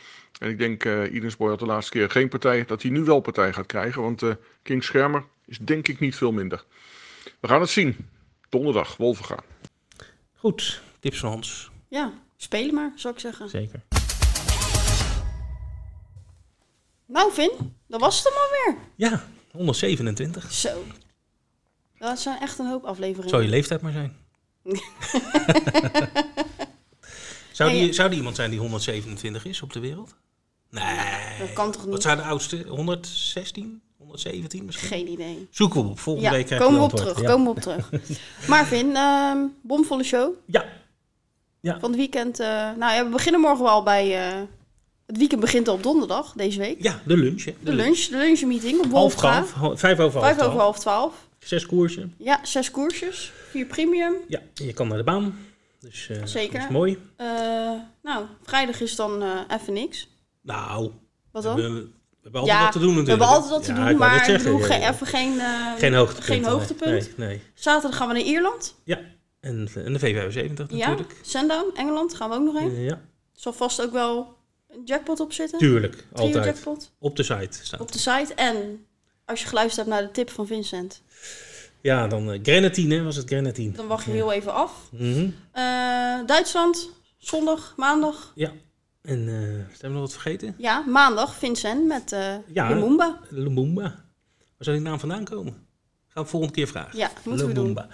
Speaker 6: En ik denk, eh Idensboy had de laatste keer geen partij, dat hij nu wel partij gaat krijgen. Want eh, King Schermer is denk ik niet veel minder. We gaan het zien. Donderdag, Wolvenga.
Speaker 1: Goed, tips van Hans.
Speaker 2: Ja, spelen maar, zou ik zeggen.
Speaker 1: Zeker.
Speaker 2: Nou, Vin, dat was het hem alweer.
Speaker 1: Ja, 127.
Speaker 2: Zo. Dat zijn echt een hoop afleveringen.
Speaker 1: Zou je leeftijd maar zijn. zou,
Speaker 2: Nee,
Speaker 1: die,
Speaker 2: ja.
Speaker 1: zou die iemand zijn die 127 is op de wereld? Nee.
Speaker 2: Dat kan toch
Speaker 1: Wat
Speaker 2: niet?
Speaker 1: zou de oudste? 116? 117 misschien?
Speaker 2: Geen idee.
Speaker 1: Zoeken we op. Volgende
Speaker 2: Ja,
Speaker 1: week krijgen
Speaker 2: komen we
Speaker 1: een
Speaker 2: op terug.
Speaker 1: antwoord. Ja.
Speaker 2: Komen we op terug. Maar Vin, ehm, bomvolle show.
Speaker 1: Ja.
Speaker 2: Van het weekend. eh, nou ja, we beginnen morgen al bij. eh, het weekend begint al op donderdag deze week.
Speaker 1: ja, de lunch. Hè.
Speaker 2: De lunch, de lunchmeeting op
Speaker 1: Half
Speaker 2: Wolfga.
Speaker 1: twaalf. ha- Vijf over half
Speaker 2: Vijf over
Speaker 1: twaalf.
Speaker 2: half twaalf.
Speaker 1: Zes koersen.
Speaker 2: Ja, zes koersjes. Vier premium.
Speaker 1: Ja, je kan naar de baan. Dus eh,
Speaker 2: Zeker.
Speaker 1: dat is mooi.
Speaker 2: Eh, nou, vrijdag is dan eh, even niks.
Speaker 1: Nou,
Speaker 2: Wat
Speaker 1: we,
Speaker 2: dan?
Speaker 1: hebben- we hebben altijd wat te doen natuurlijk.
Speaker 2: We hebben altijd wat te
Speaker 1: Ja,
Speaker 2: doen,
Speaker 1: ik
Speaker 2: maar
Speaker 1: wou net
Speaker 2: ik
Speaker 1: zeggen,
Speaker 2: bedoel,
Speaker 1: ja,
Speaker 2: geen,
Speaker 1: ja.
Speaker 2: even geen, eh,
Speaker 1: Geen hoogtepunt.
Speaker 2: geen hoogtepunt.
Speaker 1: Nee, nee.
Speaker 2: Zaterdag gaan we naar Ierland.
Speaker 1: Ja, en, en de V75 natuurlijk.
Speaker 2: Ja, Sandown, Engeland, gaan we ook nog heen.
Speaker 1: Eh, ja,
Speaker 2: Zal vast ook wel een jackpot op zitten.
Speaker 1: tuurlijk.
Speaker 2: Trio
Speaker 1: Altijd.
Speaker 2: jackpot
Speaker 1: Op de site staat.
Speaker 2: op de site. En als je geluisterd hebt naar de tip van Vincent,
Speaker 1: Ja, dan eh, Grenadine hè, was het Grenadine.
Speaker 2: dan wacht je heel even af.
Speaker 1: Mhm.
Speaker 2: Eh, Duitsland, zondag, maandag.
Speaker 1: Ja. En eh zijn we nog wat vergeten?
Speaker 2: Ja, maandag Vincent met eh
Speaker 1: Ja.
Speaker 2: Lumumba.
Speaker 1: Lumumba. Waar zou die naam vandaan komen? Gaan we volgende keer vragen.
Speaker 2: Ja, moeten we doen.
Speaker 1: Lumumba.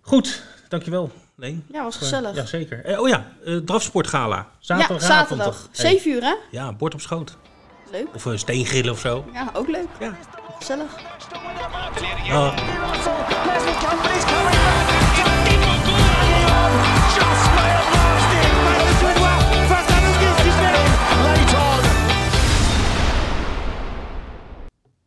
Speaker 1: Goed, dankjewel Leen.
Speaker 2: Ja, was gezellig.
Speaker 1: Ja, zeker. Eh, oh ja, eh drafsportgala.
Speaker 2: Ja,
Speaker 1: Zaterdagavond.
Speaker 2: zaterdag.
Speaker 1: toch? Hey.
Speaker 2: 7 uur, hè?
Speaker 1: Ja, bord op schoot.
Speaker 2: Leuk.
Speaker 1: Of een steengrillen of zo.
Speaker 2: Ja, ook leuk.
Speaker 1: Ja.
Speaker 2: Gezellig.
Speaker 1: Ah.
Speaker 7: Russell,